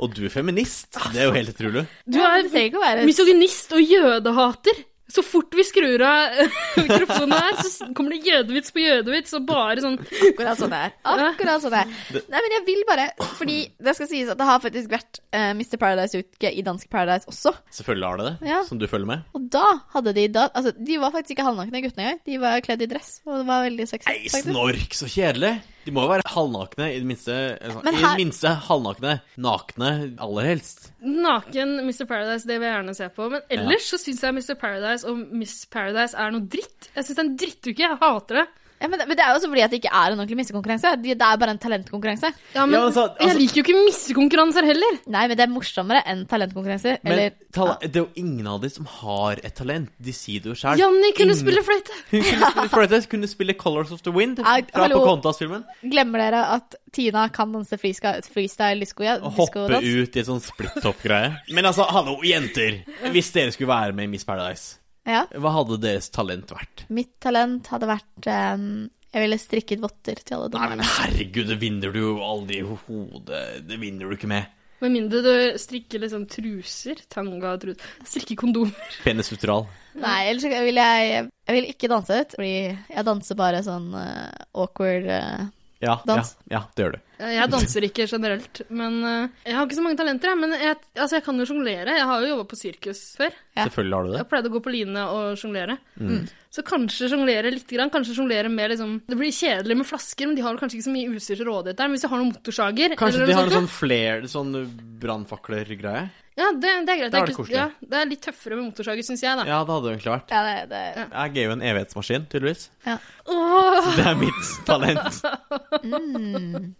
S4: Og du er feminist.
S3: Ah.
S4: Det er jo helt utrolig.
S1: Du er
S3: det trenger ikke å være
S1: misogynist og jødehater. Så fort vi skrur av eh, mikrofonen her, så s- kommer det jødevits på jødevits, og bare sånn
S3: Akkurat sånn det er. Akkurat sånn det er. Nei, men jeg vil bare Fordi det skal sies at det har faktisk vært eh, Mr. Paradise-uke i dansk Paradise også.
S4: Selvfølgelig har det det,
S3: Ja.
S4: som du følger med.
S3: Og da hadde de da Altså, de var faktisk ikke halvnakne guttene engang. De var kledd i dress, og det var veldig sexy.
S4: Nei,
S3: faktisk.
S4: snork, så kjedelig. De må jo være halvnakne, i det minste. eller sånn,
S3: Men
S4: I
S3: her-
S4: det minste halvnakne. Nakne, aller helst.
S1: Naken Mr. Paradise, det vil jeg gjerne se på. Men ellers så syns jeg Mr. Paradise og Miss Paradise er noe dritt. Jeg syns det er en drittuke. Jeg hater det.
S3: Ja, men, men det er jo også fordi at det ikke er en ordentlig missekonkurranse. Det det er bare en talentkonkurranse.
S1: Ja, men
S4: Ja, altså, altså-
S1: Jeg liker jo ikke missekonkurranser heller.
S3: Nei, men det er morsommere enn talentkonkurranser.
S4: Men
S3: Eller
S4: tala- det er jo ingen av dem som har et talent. De sier det jo sjøl.
S1: Janni kunne spille fløyte.
S4: Hun kunne spille, Fløytes, kunne spille Colors of the Wind
S3: Nei,
S4: fra
S3: hallo.
S4: Pocahontas-filmen.
S3: glemmer dere at Tina kan danse freestyle, freestyle disco, ja,
S4: Og hoppe
S3: diskodans?
S4: ut i et sånn splitttopp-greie. Men altså, hallo, jenter! Hvis dere skulle være med i Miss Paradise,
S3: Ja.
S4: hva hadde deres talent vært?
S3: Mitt talent hadde vært ehm, Jeg ville strikket votter til alle
S4: Nei, men
S3: dommerne.
S4: herregud, det vinner du jo aldri i hodet. Det vinner du ikke med.
S1: Med mindre du strikker liksom truser. Tanga og truser. Strikke kondomer.
S4: Penisutral.
S3: Nei, ellers så vil jeg Jeg vil ikke danse ut, fordi jeg danser bare sånn eh, awkward eh,
S4: Ja, ja,
S3: Dans.
S4: ja, det gjør du.
S1: Eh, Jeg danser ikke generelt, men eh, jeg har ikke så mange talenter, jeg. Men jeg, altså, jeg kan jo jonglere. Jeg har jo jobba på sirkus før.
S3: Ja.
S4: Selvfølgelig har du det.
S1: Jeg pleide å gå på line og jonglere.
S4: Mm.
S3: Mm.
S1: Så kanskje jonglere litt. Grann. Kanskje jonglere med liksom Det blir kjedelig med flasker, men de har kanskje ikke så mye utstyr til rådighet der. Men hvis de har noen motorsager
S4: Kanskje
S1: eller
S4: de
S1: noe
S4: har en
S1: sånt,
S4: sånn flair, sånn brannfakler-greie?
S1: Ja, det, det er greit.
S4: Da er
S1: det,
S4: det
S1: er
S4: koselig.
S1: ikke, ja, det er litt tøffere med motorsager, syns jeg, da.
S4: Ja, det hadde det egentlig vært.
S3: Ja, det, det
S4: Jeg er jo en evighetsmaskin, tydeligvis.
S1: Åh,
S4: Det er mitt talent.
S3: Mm.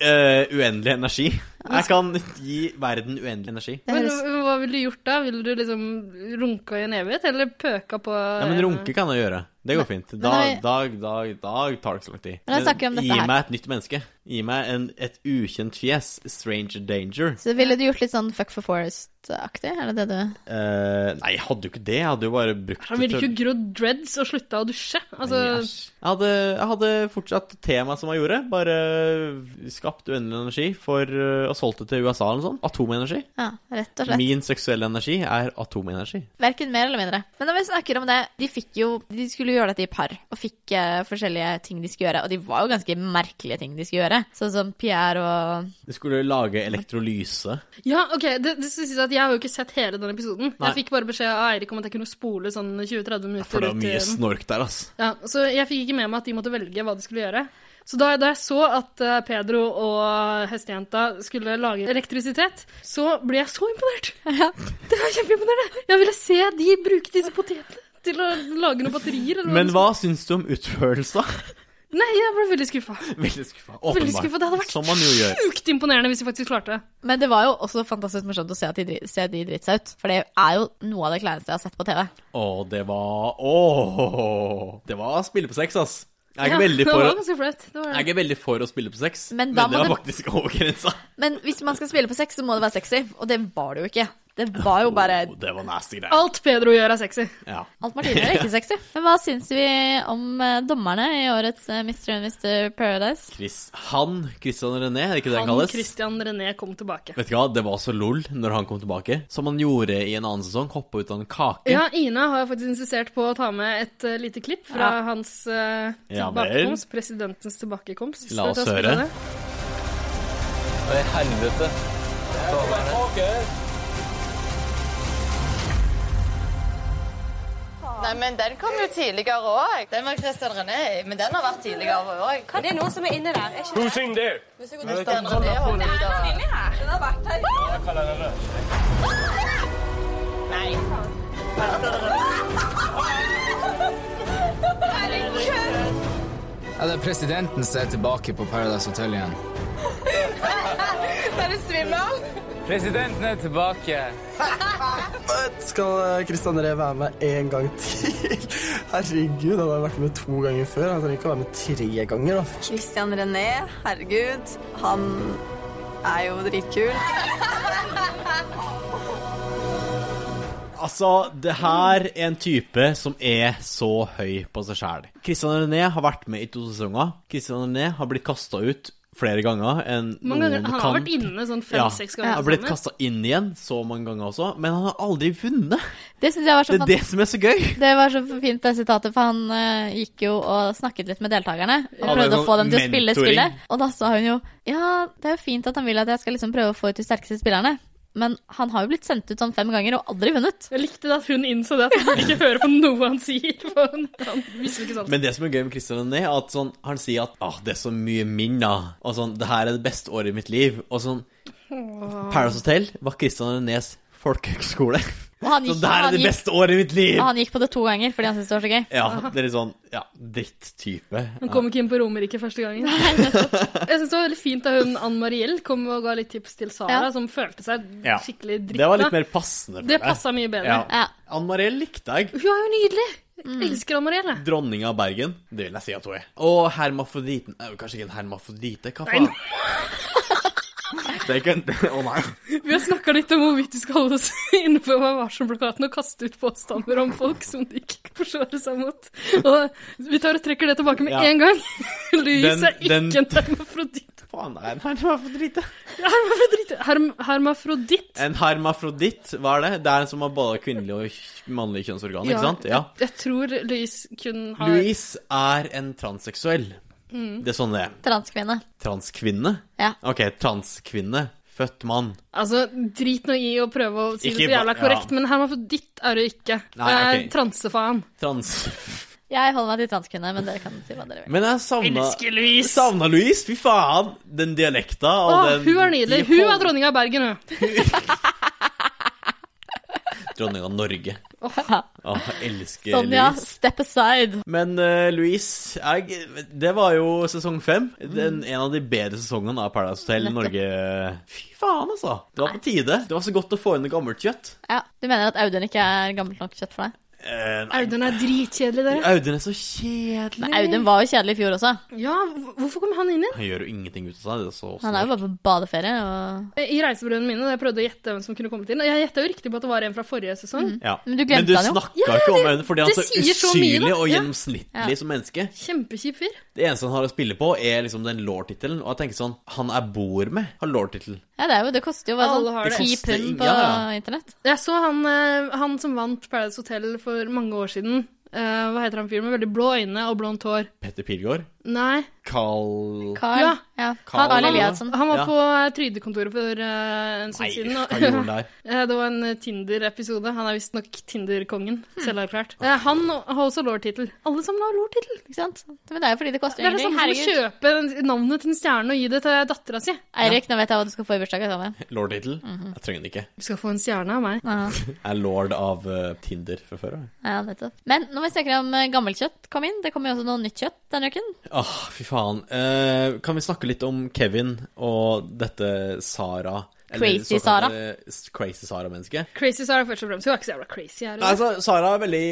S4: Eh, uendelig energi. Jeg kan gi verden uendelig energi.
S3: det
S1: men
S3: høres
S1: hva ville du gjort da? Ville du liksom runka i en evighet, eller pøka på eh,
S4: Nei, men runke kan jeg gjøre. Det går fint. Da,
S3: men
S4: da, da, da tar det ikke så lang tid.
S3: Men jeg snakker om dette
S4: gi
S3: her.
S4: meg et nytt menneske. Gi meg en, et ukjent fjes. Stranger danger.
S3: Så ville du gjort litt sånn Fuck for Forest-aktig? Er det det du
S4: Eh, nei, jeg hadde jo ikke det. Jeg hadde jo bare brukt
S1: Han ville
S4: det
S1: ikke grodd dreads og slutta å dusje. Altså,
S4: Æsj. jeg, hadde, jeg hadde fortsatt temaet som jeg gjorde, bare skapt uendelig energi for, eh, og solgt det til USA eller noe sånt. Atomenergi.
S3: Ja, rett og slett.
S4: Min seksuelle energi er atomenergi.
S3: Verken mer eller mindre. Men når vi snakker om det, de fikk jo De skulle gjøre dette i par, og fikk eh, forskjellige ting de skulle gjøre. Og de var jo ganske merkelige ting de skulle gjøre. Sånn som Pierre og
S4: Du skulle lage elektrolyse.
S1: ja, OK, det, det skal sies at jeg har jo ikke sett hele den episoden.
S4: Nei.
S1: Jeg fikk bare beskjed av Eirik om at jeg kunne spole sånn 20-30 minutter.
S4: For det var
S1: ut i
S4: mye
S1: den.
S4: snork der, altså.
S1: Ja, så jeg fikk ikke med meg at de måtte velge hva de skulle gjøre. Så da, da jeg så at eh, Pedro og hestejenta skulle lage elektrisitet, så ble jeg så imponert. Det var kjempeimponerende. Jeg ville se de bruke disse potetene til å lage noen batterier. Eller
S4: Men
S1: det
S4: hva syns du om utførelsen?
S1: skulle- Nei, jeg ble veldig skuffa.
S4: Veldig skuffa.
S1: Veldig
S4: Åpenbart.
S1: skuffa. Det hadde vært
S4: Som man jo gjør.
S1: sjukt imponerende hvis de faktisk klarte det.
S3: Men det var jo også fantastisk morsomt å se at de, dri- se at de driter seg ut. For det er jo noe av det kleineste jeg har sett på TV.
S4: Å, det var Åh! Det var spille på sex, ass. Jeg er,
S1: Ja,
S4: veldig
S1: det
S4: for,
S1: var ganske flaut. Det var det.
S4: jeg er veldig for å spille på sex,
S3: Men
S4: men,
S3: da
S4: det
S3: må
S4: var
S3: du-
S4: faktisk overgrensa.
S3: Men hvis man skal spille på sex, så må det være sexy. Og det var det jo ikke. Det var jo bare
S4: Åh, det var nasty greier.
S1: Alt Pedro gjør, er sexy.
S4: Ja.
S3: Alt Martine gjør, er ikke sexy. Men hva syns vi om eh, dommerne i årets eh, Mr. and Mr. Paradise?
S4: Chris, han Christian René, er det ikke det han
S1: Han
S4: kalles?
S1: Christian René kom tilbake.
S4: Vet du hva, det var så lol når han kom tilbake, som han gjorde i en annen sesong. Hoppa ut av en kake.
S1: Ja, Ina har faktisk insistert på å ta med et eh, lite klipp fra hans eh,
S4: Ja vel.
S1: tilbakekomst. presidentens tilbakekomst.
S4: La
S1: Skal vi ta
S4: oss
S1: og spille
S4: høre.
S1: det?
S7: Nei, men den kom jo tidligere òg. Den var Christian René, men den har vært tidligere òg. Det er noen som er inne der. Er ikke Christian René var ute da. Nei.
S8: Ja, det er presidenten som er tilbake på Paradise Hotel igjen.
S7: Er du svimmel?
S8: Presidenten er tilbake.
S9: Skal Kristian Ree være med en gang til? Herregud, han har vært med to ganger før. Han trenger ikke å være med tre ganger. da.
S7: Christian René, herregud. Han er jo dritkul.
S4: Altså, det her er en type som er så høy på seg sjæl. Christian René har vært med i to sesonger. Christian René har blitt kasta ut flere ganger enn
S1: Mange ganger,
S4: noen
S1: han
S4: kan.
S1: har vært inne sånn
S4: Ja,
S1: fem-seks
S4: han har
S1: ganger.
S4: blitt
S1: sammen.
S4: kasta inn igjen så mange ganger også, men han har aldri vunnet.
S3: Det syns jeg var så
S4: Det er
S3: fantastisk.
S4: det som er så gøy.
S3: Det var så fint det sitatet, for han eh, gikk jo og snakket litt med deltakerne. Og
S4: Ja, det er
S3: prøvde å
S4: sånn
S3: få dem til å spille
S4: mentoring.
S3: spillet. Og da sa hun jo ja, det er jo fint at han vil at jeg skal liksom prøve å få ut de sterkeste spillerne. Men han har jo blitt sendt ut sånn fem ganger og aldri vunnet.
S1: Jeg likte det at hun innså det, at hun burde ikke høre på noe han sier. For han, han visste ikke sånn.
S4: Men det som er gøy med Christian René, er at sånn, han sier at ah, 'det er så mye minner', og sånn 'det her er det beste året i mitt liv', og sånn Paradise Hotel var Christian Renés folkehøgskole.
S3: Og han
S4: Så
S3: gikk,
S4: det her
S3: og
S4: er
S3: han
S4: det
S3: gikk,
S4: beste året i mitt liv!
S3: og han gikk på det to ganger fordi han syntes det var så gøy.
S4: Ja, det er litt sånn ja, dritttype.
S1: Han kom ikke inn på Romerike første gangen. Jeg syns det var veldig fint da hun Ann Mariell kom og ga litt tips til Sara,
S3: Ja.
S1: som følte seg
S4: Ja.
S1: skikkelig
S4: Det var litt
S1: drita.
S4: mer passende for
S1: Det
S4: deg.
S1: passa mye bedre.
S4: Ja.
S3: Ja.
S4: Ann Mariell likte jeg.
S1: Hun er jo nydelig! Jeg elsker Ann Mariell, jeg.
S4: Dronninga av Bergen. Det vil jeg si at hun er. Og hermafroditen eh, Kanskje ikke en hermafrodite? Hva faen? Det er ikke en Å nei.
S1: Vi har snakka litt om hvorvidt vi skal holde oss innenfor Vær varsom-plakaten og kaste ut påstander om folk som de ikke forsvarer seg mot. Og vi tar og trekker det tilbake med
S4: Ja.
S1: en gang. Louise er ikke
S4: Den- den-
S1: en hermafroditt.
S4: Faen, det er en hermafrodite.
S1: Hermafroditt. Herm hermafroditt.
S4: En hermafroditt, hva er det? Det er en som har både kvinnelig og mannlig kjønnsorgan, ikke sant? Ja.
S1: Jeg, jeg tror Louise kun har Mm.
S4: Louise er en transseksuell. Det er sånn det er.
S3: Transkvinne.
S4: Transkvinne?
S3: Ja.
S4: OK, transkvinne. Født mann.
S1: Altså, drit nå i å prøve å si
S4: Ikke
S1: det så jævla
S4: ba-
S1: korrekt,
S4: ja.
S1: men hermafroditt er du ikke.
S4: Nei,
S1: Det er
S4: ok.
S1: transefaen.
S4: Trans...
S3: Jeg holder meg til transkvinne, men dere kan si hva dere vil.
S4: Men jeg savna
S1: Elsker Louise!
S4: Savna Louise, fy faen! Den dialekta og
S1: Å,
S4: den
S1: hun er nydelig.
S4: de
S1: Hun
S4: hold-
S1: er dronninga av Bergen, hun.
S4: Dronning av Norge. Åh, jeg elsker
S3: Sonja,
S4: Louise.
S3: step aside.
S4: Men eh, Louise jeg, Det var jo sesong fem. Den, en av de bedre sesongene av Paradise Hotel Norge. Fy faen, altså. Det var på tide. Det var så godt å få inn noe gammelt kjøtt.
S3: Ja, Du mener at Audun ikke er gammelt nok kjøtt for deg?
S4: Eh, nei,
S1: Audun er dritkjedelig, dere.
S4: Audun er så kjedelig.
S3: Men Audun var jo kjedelig i fjor også.
S1: Ja, hvorfor kom han inn igjen?
S4: Han gjør jo ingenting ut av seg. Det er så
S3: Han er jo bare på badeferie og
S1: I reisebrødene mine, da jeg prøvde å gjette hvem som kunne kommet inn Og jeg gjetta jo riktig på at det var en fra forrige sesong.
S4: ja.
S3: Men du glemte han jo.
S4: snakka ikke om Audun fordi
S1: det
S4: han er så
S1: sier så mye,
S4: usynlig
S1: da.
S4: og
S1: Ja.
S4: gjennomsnittlig som menneske.
S1: Kjempekjip fyr.
S4: Det eneste han har å spille på, er liksom den law-tittelen. Og jeg tenker sånn Han jeg bor med, har law-tittelen.
S3: Ja, det, er jo, det koster jo bare
S1: Alle har
S3: sånn
S1: det.
S3: ti
S4: Det koster
S3: pund på
S4: ingen,
S3: internett.
S1: Jeg så han, eh, han som vant Paradise Hotel for mange år siden. Eh, hva heter han fyren med veldig blå øyne og blondt hår?
S4: Petter Pilgaard.
S1: Nei.
S4: Carl
S3: Carl.
S1: Ja.
S3: Ja.
S4: Carl-
S1: Han,
S3: Carl Eliasson.
S1: han var
S4: Ja.
S1: på eh, trygdekontoret for eh, en
S4: Nei,
S1: stund siden.
S4: hva
S1: og-
S4: gjorde han der?
S1: Eh, Det var en eh, Tinder-episode. Han er visstnok Tinder-kongen. Selverklært. Eh, Han har også lårtittel. Alle sammen har lårtittel.
S3: Ikke sant? Men det er jo fordi det koster
S1: Det er det samme som
S3: ingenting.
S1: å
S3: Herregud.
S1: kjøpe en- navnet til en stjerne og gi det til dattera si.
S3: Eirik, nå vet jeg hva du skal få i bursdagen sammen.
S4: Lord-tittel?
S3: Mhm.
S4: Jeg trenger den ikke.
S1: Du skal få en stjerne av meg.
S4: Jeg er lord av eh, Tinder fra før av.
S3: Ja, nettopp. Men når vi snakker om eh, gammelt kjøtt kom inn, det kommer jo også noe nytt kjøtt denne uken.
S4: Åh, fy faen. Eh, kan vi snakke litt om Kevin og dette Sara? eller
S3: Crazy
S4: såkalte
S3: Sara.
S4: s- Crazy Sara-mennesket.
S1: Crazy Sara først og fremst. Hun er ikke så jævla crazy.
S3: Mm.
S1: Er
S4: Nei,
S1: hun?
S4: Altså, Sara er veldig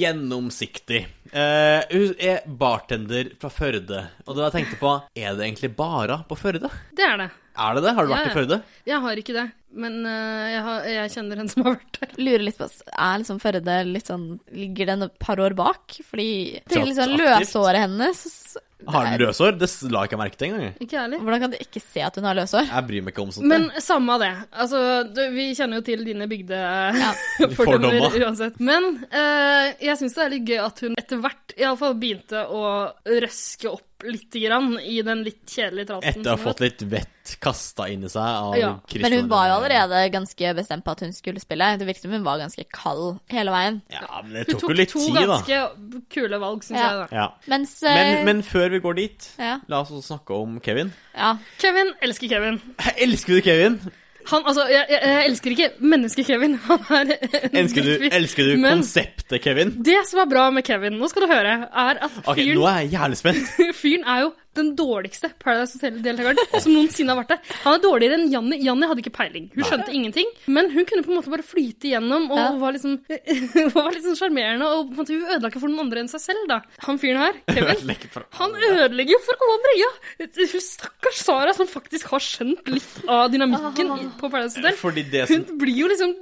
S4: gjennomsiktig. Eh, hun er bartender fra Førde. Og da tenkte jeg på, er det egentlig bara på Førde?
S1: Det er det.
S4: Er det det? Har du
S1: Ja,
S4: vært i Førde?
S1: Jeg har ikke det. Men eh, jeg, har, jeg kjenner en som har vært der.
S3: Lurer litt på Er liksom Førde litt sånn Ligger den et par år bak? Fordi til liksom
S4: Aktivt.
S3: løshåret hennes så-
S4: Har hun løshår? Det la ikke jeg merke til engang.
S1: Ikke jeg heller.
S3: Hvordan kan du ikke se at hun har løshår?
S4: Jeg bryr meg ikke om sånt.
S1: Men
S4: jeg.
S1: samme av det. Altså, du, vi kjenner jo til dine
S3: Ja.
S1: bygdefordommer
S4: Fordommer.
S1: uansett. Men eh, jeg syns det er litt gøy at hun etter hvert iallfall begynte å røske opp lite grann i den litt kjedelige tralten.
S4: Etter å ha
S1: som hun
S4: fått litt vett kasta inn i seg av
S1: Ja,
S4: Kristian.
S3: Men hun var jo allerede ganske bestemt på at hun skulle spille. Det virket som hun var ganske kald hele veien.
S4: Ja, men det
S1: Hun
S4: tok jo litt
S1: to
S4: tid, da.
S1: ganske kule valg, syns
S3: Ja.
S1: jeg. da.
S4: Ja.
S3: Mens eh,
S4: Men, men før vi går dit,
S3: Ja.
S4: la oss også snakke om Kevin.
S3: ja.
S1: Kevin elsker Kevin.
S4: Jeg elsker du Kevin?
S1: Han, altså, jeg, jeg, jeg elsker ikke menneske-Kevin. Han er en
S4: Elsker du,
S1: drittfyr.
S4: elsker du
S1: Men
S4: konseptet Kevin?
S1: det som er bra med Kevin, nå skal du høre, er at
S4: Ok,
S1: fyren,
S4: Nå er jeg jævlig spent.
S1: fyren er jo den dårligste Paradise Hotel-deltakeren som noensinne har vært der. Han er dårligere enn Janni. Janni hadde ikke peiling. Hun skjønte ingenting. Men hun kunne på en måte bare flyte igjennom og
S3: Ja.
S1: var liksom var liksom sjarmerende. Og på en måte hun ødela ikke for noen andre enn seg selv, da. Han fyren her, Kevin,
S4: Legg fra-
S1: Han ødelegger jo for alle andre. Ja. Hun stakkars Sara, som faktisk har skjønt litt av dynamikken i- på Paradise Hotel.
S4: Fordi det som
S1: Hun blir jo liksom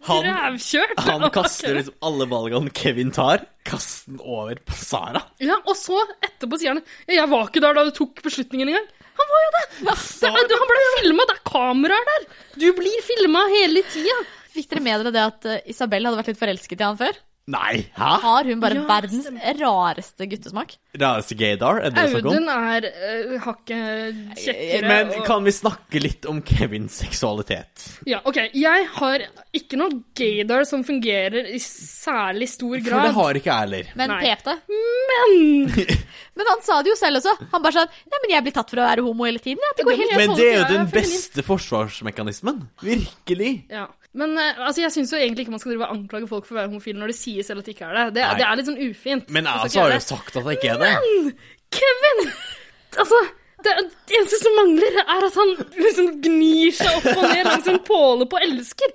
S4: han,
S1: rævkjørt.
S4: han
S1: av
S4: kaster
S1: Kevin.
S4: liksom alle valgene Kevin tar, kaster den over på Sara.
S1: Ja, Og så etterpå sier han Jeg var ikke der da du tok beslutningen engang. Han var jo det! det er, han ble filma, det er kameraer der! Du blir filma hele tida.
S3: Fikk dere med dere det at eh, Isabel hadde vært litt forelsket i han før?
S4: Nei, hæ?
S3: Har hun bare
S1: Ja,
S3: verdens rareste guttesmak?
S4: Rareste gaydar, er det det snakk om? Eh,
S1: Audun er uh, hakket kjekkere.
S4: Men
S1: og-
S4: kan vi snakke litt om Kevins seksualitet?
S1: Ja, OK. Jeg har ikke noe gaydar som fungerer i særlig stor
S4: For det
S1: grad.
S4: har ikke jeg heller.
S3: Men
S1: Nei.
S3: pep det. Men han sa det jo selv også. Han bare sa Nei, men jeg blir tatt for å være homo hele tiden. Ja. Det går helt
S4: Men
S1: sånn
S4: det er jo
S1: jeg er
S4: den
S1: feminist.
S4: beste forsvarsmekanismen. Virkelig.
S1: Ja. Men eh, altså, jeg syns jo egentlig ikke man skal drive og anklage folk for å være homofil når de sier selv at de ikke er det. Det,
S4: Nei.
S1: det er litt sånn ufint.
S4: Men jeg
S1: Man
S4: altså,
S1: skal
S4: har
S1: ikke
S4: jo sagt at jeg ikke er det.
S1: gjøre det. Kevin! Altså, det, er- det eneste som mangler, er at han liksom gnir seg opp og ned langs en påle på elsker.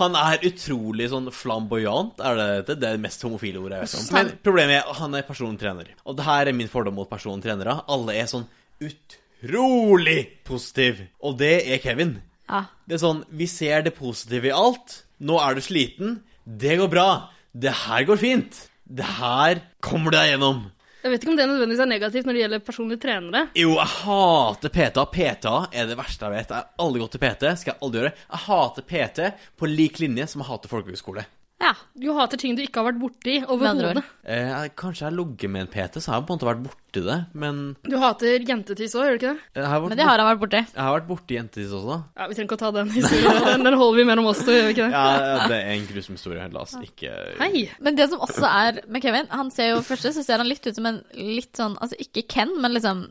S4: Han er utrolig sånn flamboyant, er det det? Det er det mest homofile ordet jeg vet om. Men problemet er at han er persontrener. Og det her er min fordom mot persontrenere. Alle er sånn utrolig positiv. Og det er Kevin.
S3: Ja.
S4: Det er sånn, vi ser det positive i alt. Nå er du sliten. Det går bra. Det her går fint. Det her kommer du deg gjennom.
S1: Jeg vet ikke om det nødvendigvis er negativt når det gjelder personlige trenere.
S4: Jo, jeg hater PTA. PTA er det verste jeg vet. Jeg har aldri gått til PT. Skal jeg aldri gjøre. Jeg hater PT på lik linje som jeg hater folkehøyskole.
S3: Ja.
S1: Du hater ting du ikke har vært borti
S3: Med andre
S1: overhodet.
S3: ord.
S4: Eh, jeg- kanskje jeg har ligget med en PT, så jeg har på en måte vært borti det. Men eh,
S1: Du hater jentetiss òg, gjør du ikke det?
S4: jeg har vært,
S3: Men det har han vært borti.
S4: bort- jeg har vært borti jentetiss også.
S1: Ja, Vi trenger ikke å ta den historien. Den, den holder vi mellom oss to, gjør vi ikke det?
S4: Ja, ja, det er en grusom historie. La oss ikke
S1: Hei!
S3: Men det som også er med Kevin Han ser jo først så ser han litt ut som en litt sånn Altså ikke Ken, men liksom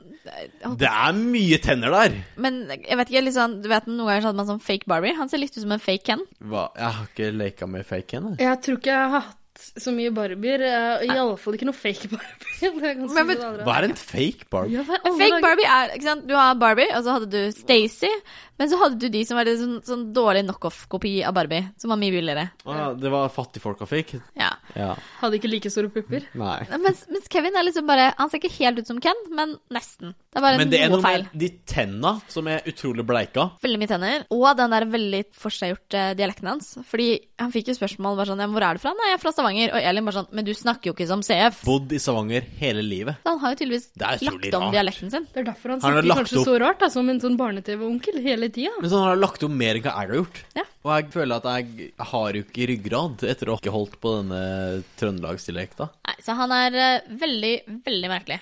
S4: Det er mye tenner der!
S3: Men jeg vet ikke, litt sånn Du vet noen ganger så hadde man sånn fake Barbie. Han ser litt ut som en fake Ken.
S4: Hva? Jeg har ikke leka med fake ennå.
S1: Jeg tror ikke jeg har hatt så mye barbier. Iallfall ikke noe fake barbier. Det kan
S3: Men-
S1: sikkert aldri ha.
S4: Hva er en fake barb?
S1: Ja, hva i alle
S3: Fake
S1: dager?
S3: Barbie er ikke sant? Du har Barbie, og så hadde du Stacey. Men så hadde du de som var litt sånn, sånn dårlig knockoff-kopi av Barbie, som var mye billigere.
S4: Å ja, det var fattigfolka fikk?
S3: Ja.
S4: Ja.
S1: Hadde ikke like store pupper.
S4: Nei.
S3: Mens, mens Kevin er liksom bare Han ser ikke helt ut som Ken, men nesten. Det er bare
S4: Men det er
S3: noe
S4: noe
S3: feil.
S4: med de tenna som er utrolig bleika.
S3: Veldig mye tenner. eh, Og den der veldig forseggjorte dialekten hans. Fordi han fikk jo spørsmål bare sånn ja, 'Hvor er du fra?' 'Nei, jeg er fra Stavanger, og Elin bare sånn Men du snakker jo ikke som CF.
S4: Bodd i Stavanger hele livet.
S3: Så han har jo tydeligvis
S4: Det er utrolig
S3: lagt om
S4: rart.
S3: dialekten sin.
S1: Det er derfor han
S4: Han har
S1: snakker
S4: lagt
S1: kanskje
S4: opp-
S1: så rart, da, som en sånn barne-TV-onkel hele tida.
S4: Men sånn har jeg lagt om mer enn hva jeg har gjort.
S3: Ja.
S4: Og jeg føler at jeg har jo ikke ryggrad etter å ha ikke holdt på denne trøndelagsdialekta.
S3: Nei, så han er eh, veldig, veldig merkelig.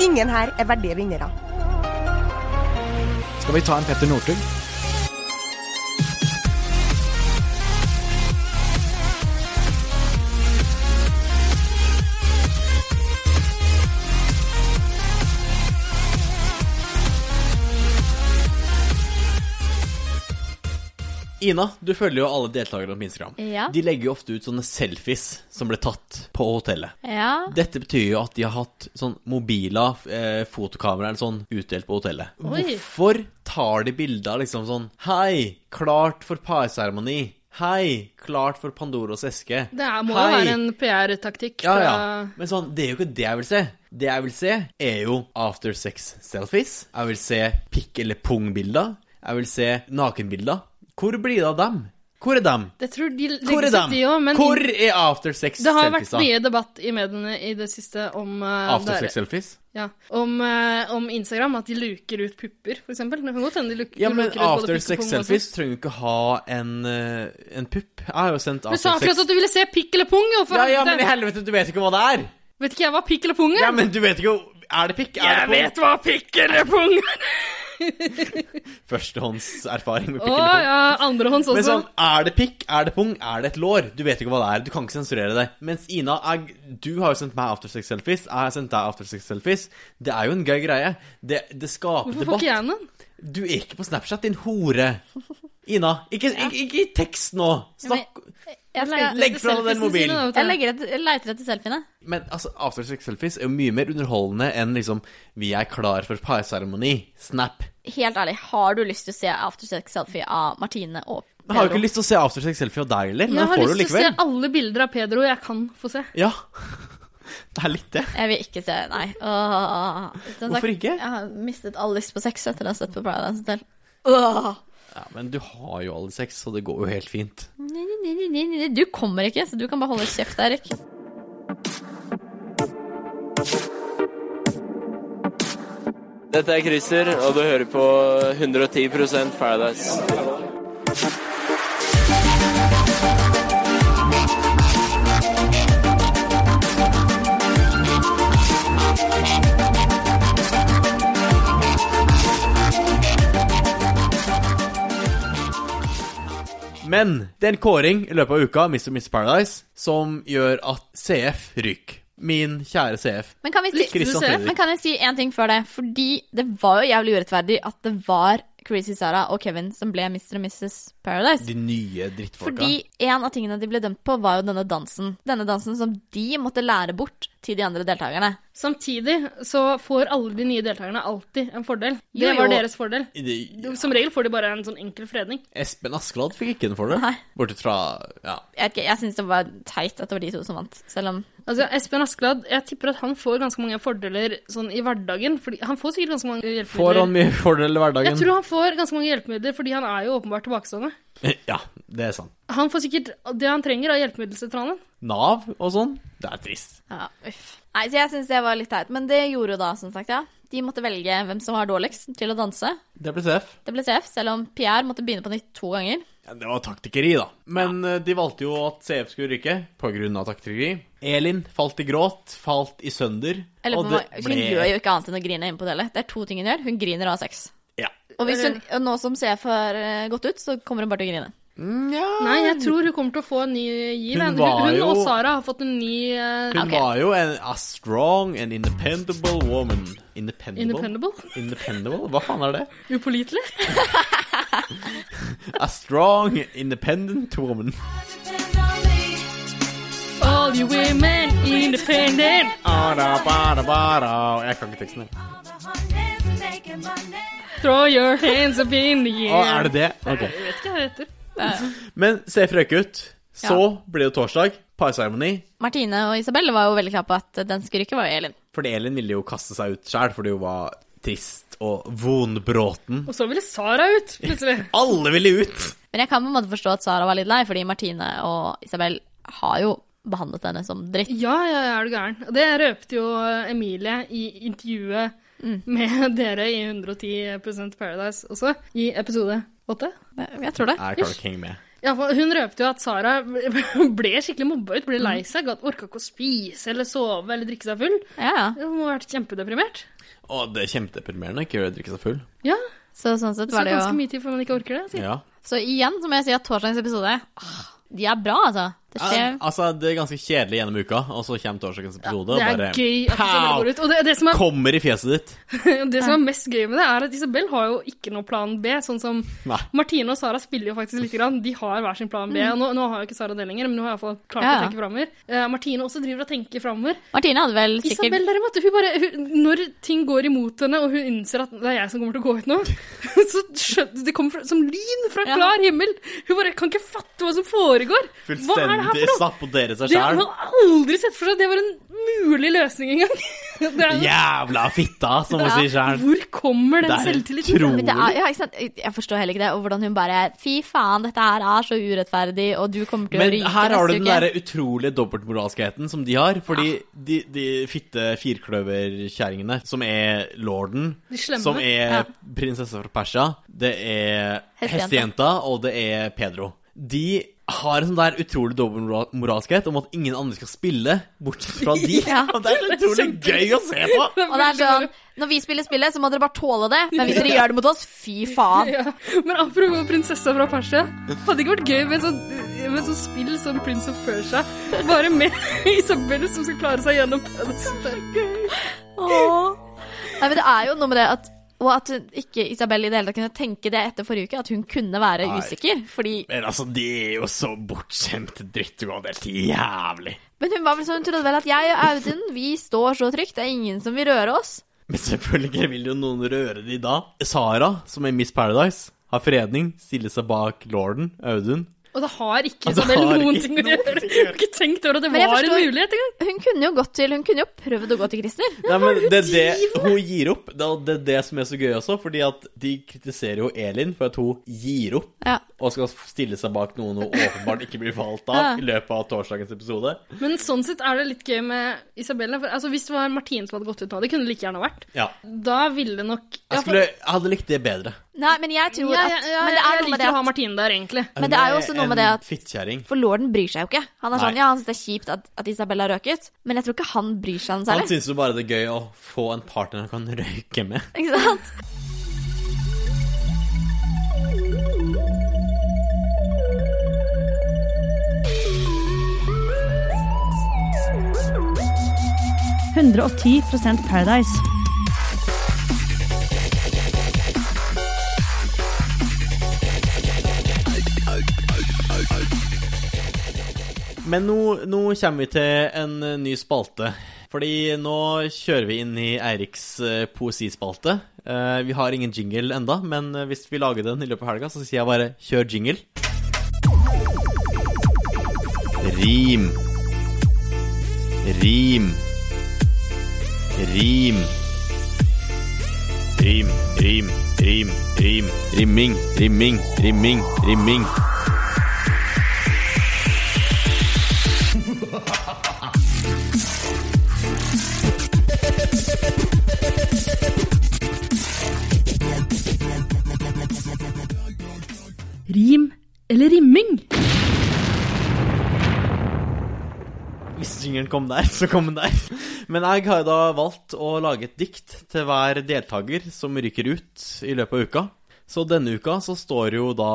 S5: Ingen her er verdige vinnere.
S10: Skal vi ta en Petter Northug?
S4: Ina, du følger jo alle deltakerne på Instagram.
S3: Ja.
S4: De legger jo ofte ut sånne selfies som ble tatt på hotellet.
S3: Ja.
S4: Dette betyr jo at de har hatt sånn mobiler, eh, fotokameraer sånn utdelt på hotellet.
S1: Oi.
S4: Hvorfor tar de bilder av liksom sånn Hei, klart for parseremoni. Hei, klart for Pandoras eske.
S1: Det er, må
S4: Hei.
S1: jo være en PR-taktikk.
S4: Ja,
S1: fra-
S4: ja. Men sånn, det er jo ikke det jeg vil se. Det jeg vil se, er jo after sex-selfies. Jeg vil se pikk- eller pung-bilder. Jeg vil se nakenbilder. Hvor blir det av dem? Hvor er dem?
S1: Jeg tror de
S4: Hvor
S1: legger
S4: er
S1: seg
S4: dem?
S1: de òg, men
S4: Hvor er after
S1: det har vært
S4: sex-selfiesa?
S1: mye debatt i mediene i det siste om eh,
S4: After
S1: det er-
S4: sex-selfies?
S1: Ja, om, eh, om Instagram, at de luker ut pupper, for eksempel. Det kan godt hende de luk-
S4: Ja,
S1: luker
S4: men
S1: ut både pikk
S4: after
S1: og pung og
S4: sex-selfies
S1: sånt.
S4: trenger jo ikke ha en, eh, en pupp. Jeg har jo sendt
S1: Du sa
S4: after
S1: akkurat
S4: sex.
S1: at du ville se pikk eller pung, og for
S4: Ja, ja, men i
S1: helvete!
S4: helvete, du vet ikke hva det er!
S1: Vet ikke jeg hva pikk eller pung er?
S4: Ja, men du vet ikke Er det pikk? Er
S1: Jeg
S4: det pung?
S1: vet hva pikk eller pung er!
S4: Førstehåndserfaring med
S1: Å
S4: pikk eller pung.
S1: ja, andrehånds også.
S4: Men sånn, er det pikk, er det pung, er det et lår? Du vet ikke hva det er, du kan ikke sensurere det. Mens Ina, jeg, du har jo sendt meg aftersex-selfies, jeg har sendt deg aftersex-selfies. Det er jo en gøy greie. Det, det skaper
S1: Hvorfor får
S4: debatt.
S1: ikke jeg noen?
S4: Du er ikke på Snapchat, din hore. Ina, ikke, ikke, ikke i tekst nå. Snakk
S3: Jeg, skal,
S4: Legg fra deg den mobilen.
S3: jeg, legger etter, jeg leter etter selfiene.
S4: Men altså, aftersex-selfies er jo mye mer underholdende enn liksom Vi er klar for parseremoni. Snap.
S3: Helt ærlig, har du lyst til å se After Sex-selfie av Martine og
S4: Jeg har jo
S3: Pedro?
S4: ikke lyst til å se aftersex-selfie av deg heller, men
S1: Jeg
S4: det
S1: har
S4: får du
S1: lyst til å se
S4: likevel.
S1: alle bilder av Pedro jeg kan få se.
S4: Ja. Det er litt det.
S3: Jeg vil ikke se Nei. Åh. Som sagt,
S4: Hvorfor ikke?
S3: Jeg har mistet all lyst på sex etter å ha sett på Paradise Hotel. Åh.
S4: Ja, men du har jo alle sex, så det går jo helt fint.
S3: Nei, nei, nei, nei, nei, nei. Du kommer ikke, så du kan bare holde kjeft, Erik.
S11: Dette er Christer, og du hører på 110 Paradise.
S4: Men det er en kåring i løpet av uka, Mr. Miss Paradise, som gjør at CF ryker. Min kjære CF.
S3: Men kan, vi si,
S4: Christian Fredrik.
S3: men kan jeg si en ting før det? Fordi det var jo jævlig urettferdig at det var Crazy Sarah og Kevin som ble Mr. og Mrs. Paradise.
S4: De nye drittfolka.
S3: Fordi en av tingene de ble dømt på, var jo denne dansen. Denne dansen som de måtte lære bort til de andre deltakerne.
S1: Samtidig så får alle de nye deltakerne alltid en fordel. Det
S3: Jo, jo.
S1: var deres fordel.
S4: De,
S1: Som regel får de bare en sånn enkel fredning.
S4: Espen Askeladd fikk ikke den for det.
S3: Nei.
S4: Bortsett fra Ja.
S3: Jeg, vet ikke, jeg syns det var teit at det var de to som vant, selv om
S1: Altså, Espen Askeladd, jeg tipper at han får ganske mange fordeler sånn i hverdagen. Fordi han får sikkert ganske mange hjelpemidler.
S4: Får han mye fordel i
S1: Jeg
S4: hverdagen?
S1: tror han får ganske mange hjelpemidler, fordi han er jo åpenbart tilbakestående.
S4: Ja, det er sant.
S1: Han får sikkert det han trenger av hjelpemiddelsentralen.
S4: Nav og sånn, det er trist.
S3: Ja, uff. Nei, så jeg syns det var litt teit. Men det gjorde jo da, som sagt, ja. De måtte velge hvem som var dårligst til å danse.
S4: Det ble CF.
S3: Det ble CF, selv om Pierre måtte begynne på nytt to ganger.
S4: Ja, det var taktikkeri, da. Men eh, de valgte jo at CF skulle ryke på grunn av taktikkeri. Elin falt i gråt, falt i sønder.
S3: Eller,
S4: og
S3: på,
S4: det
S3: Hun
S4: ble-
S3: gjør jo ikke annet enn å grine inne på hotellet. Det er to ting hun gjør. Hun griner og har sex.
S4: Ja.
S3: Og, hvis hun, og nå som CF har eh, gått ut, så kommer hun bare til å grine.
S1: Nei, jeg tror hun kommer til å få en ny giv.
S4: Hun
S1: Hun,
S4: var
S1: hun,
S4: jo-
S1: og Sara har fått en ny eh,
S4: Hun var jo en a strong and independable woman. Independable?
S1: Independable?
S4: Independable? Hva faen er det?
S1: Upålitelig.
S4: A strong, independent woman.
S1: All you women independent.
S4: Ara, bara, bara. Jeg kan ikke teksten. jeg.
S1: Throw your hands up in the
S4: Å,
S1: air.
S4: er det det? Ok.
S1: Jeg vet ikke hva det heter.
S4: Men se frøk ut. Så
S3: Ja.
S4: blir det torsdag. Parseremoni.
S3: Martine og Isabel var jo veldig klare på at den skulle ryke, var jo Elin.
S4: Fordi Elin ville jo kaste seg ut sjæl, fordi hun var trist og vonbråten.
S1: Og så ville Sara ut, plutselig.
S4: Alle ville ut!
S3: Men jeg kan på en måte forstå at Sara var litt lei, fordi Martine og Isabel har jo behandlet henne som dritt.
S1: Ja, ja, ja, er du gæren. Og det røpte jo eh, Emilie i intervjuet med dere i 110 Paradise også, i episode åtte.
S3: Jeg tror det.
S4: Er Carl King med?
S1: Ja, for hun røpte jo at Sara ble skikkelig mobba ut, ble lei seg, gadd- orka ikke å spise eller sove eller drikke seg full. Hun må ha vært kjempedeprimert.
S4: Å, det er kjempedeprimerende. Ikke gjør det drikke seg full.
S1: Ja,
S3: Så sånn sett
S1: så
S3: var det
S1: ganske
S3: jo
S1: mye tid før man ikke orker det. sier-
S4: Ja.
S3: Så igjen så må jeg si at torsdagens episode ah, De er bra, altså. Det skjer
S4: Ja, altså, det er ganske kjedelig gjennom uka, og så kommer torsdagens episode,
S1: det er
S4: og bare
S1: gøy at Isabel går ut. Og det, det, som er,
S4: Kommer i fjeset ditt.
S1: det som er mest gøy med det, er at Isabel har jo ikke noe plan B. Sånn som
S4: Nei.
S1: Martine og Sara spiller jo faktisk litt. Grann. De har hver sin plan B. Og nå, nå har jo ikke Sara det lenger, men hun har iallfall klart
S3: Mm.
S1: å
S3: Ja, ja.
S1: tenke framover. Eh, Martine også driver og tenker framover.
S3: Martine hadde vel sikkert
S1: Isabel, derimot, hun bare hun, Når ting går imot henne, og hun innser at det er jeg som kommer til å gå ut nå, så skjønner Det kommer fra, som lyn fra en
S3: Ja.
S1: klar himmel. Hun bare kan ikke fatte hva som foregår. Hva er det her for
S4: Fullstendig
S1: noe?
S4: sabotere seg
S1: Det har
S4: sjæl.
S1: man aldri sett for seg. Det var en mulig løsning engang. Det er-
S4: Jævla fitta, som hun
S3: Ja.
S4: sier sjæl.
S1: Hvor kommer den
S4: Det er
S1: selvtilliten?
S4: utrolig.
S3: Men det er, ja, ikke sant? Jeg forstår heller ikke det. Og hvordan hun bare Fy faen, dette her er så urettferdig, og du kommer til å
S4: Men
S3: ryke
S4: her har
S3: neste
S4: du den
S3: uke.
S4: derre utrolige dobbeltmoralskheten som de har. Fordi de, de fitte firkløverkjerringene, som er lorden,
S1: De slemme.
S4: som
S3: Ja.
S4: er prinsesse fra Persia, det er
S3: Hestejenta.
S4: hestejenta, og det er Pedro. De har en sånn der utrolig dobbeltmoralskhet om at ingen andre skal spille, bortsett fra de.
S3: Ja.
S4: Og det er så utrolig gøy å se på!
S3: Og det er sånn Når vi spiller spillet, så må dere bare tåle det. Men hvis dere gjør det mot oss, fy faen.
S1: Ja. Men apropos prinsessa fra Persia. Hadde det ikke vært gøy med et sånt, med et sånt spill som Prince of Persia, bare med Isabel som skal klare seg gjennom Paradise.
S3: Åh. Nei, men det er jo noe med det at og at hun ikke Isabel i det hele tatt kunne tenke det etter forrige uke, at hun kunne være
S4: Nei.
S3: usikker. Fordi,
S4: Men altså, de er jo så bortskjemte drittungene. Det er helt jævlig.
S3: men hun var vel sånn, hun trodde vel at jeg og Audun vi står så trygt, det er ingen som vil røre oss.
S4: Men selvfølgelig vil jo noen røre de da. Sara, som er Miss Paradise, har fredning, stiller seg bak lorden, Audun.
S1: Og det har ikke
S4: Og det
S1: Isabel
S4: Altså, har
S1: noen
S4: ikke
S1: ting å
S4: noen
S1: gjøre.
S4: ting å
S1: Jeg
S4: gjøre.
S1: har ikke tenkt over at det
S3: Men jeg
S1: var en
S3: forstår-
S1: mulighet engang.
S3: Hun kunne jo gått til, hun kunne jo prøvd å gå til Christer.
S4: Nei, men det er det hun gir opp. Det er det, er det som er så gøy også, fordi at de kritiserer jo Elin for at hun gir opp.
S3: Ja.
S4: Og skal stille seg bak noen hun åpenbart ikke blir valgt av i løpet av torsdagens episode.
S1: Men sånn sett er det litt gøy med Isabel. For, altså, hvis det var Martine som hadde gått ut nå, det kunne det like gjerne vært.
S4: Ja.
S1: Da ville det nok Ja,
S4: Jeg,
S1: for-
S4: skulle, jeg hadde likt det bedre.
S3: Nei, men jeg tror
S1: ja, ja,
S3: at
S1: ja,
S3: Men det er
S1: jeg
S3: noe med
S1: liker
S3: det
S1: å ha
S3: at
S1: Martine der, egentlig.
S3: Men det er jo også noe med det at-
S4: En fittkjerring.
S3: For lorden bryr seg jo ikke. Han er sånn,
S4: Nei.
S3: ja, han synes det er kjipt at, at Isabella røket, men jeg tror ikke han bryr seg noe
S4: Han
S3: særlig.
S4: syns jo bare det er gøy å få en partner han kan røyke med.
S3: Ikke sant?
S4: Men nå, nå kommer vi til en eh, ny spalte. Fordi nå kjører vi inn i Eiriks eh, poesispalte. Eh, Vi har ingen jingle enda, men eh, hvis vi lager den i løpet av helga, så sier jeg bare 'kjør jingle'. Rim. Rim. Rim. Rim, rim, rim, rim. Rimming, rimming, rimming, rimming.
S1: Rim eller rimming?
S4: Hvis jingeren kom der, så kom den der. Men jeg har da valgt å lage et dikt til hver deltaker som ryker ut i løpet av uka. Så denne uka så står jo da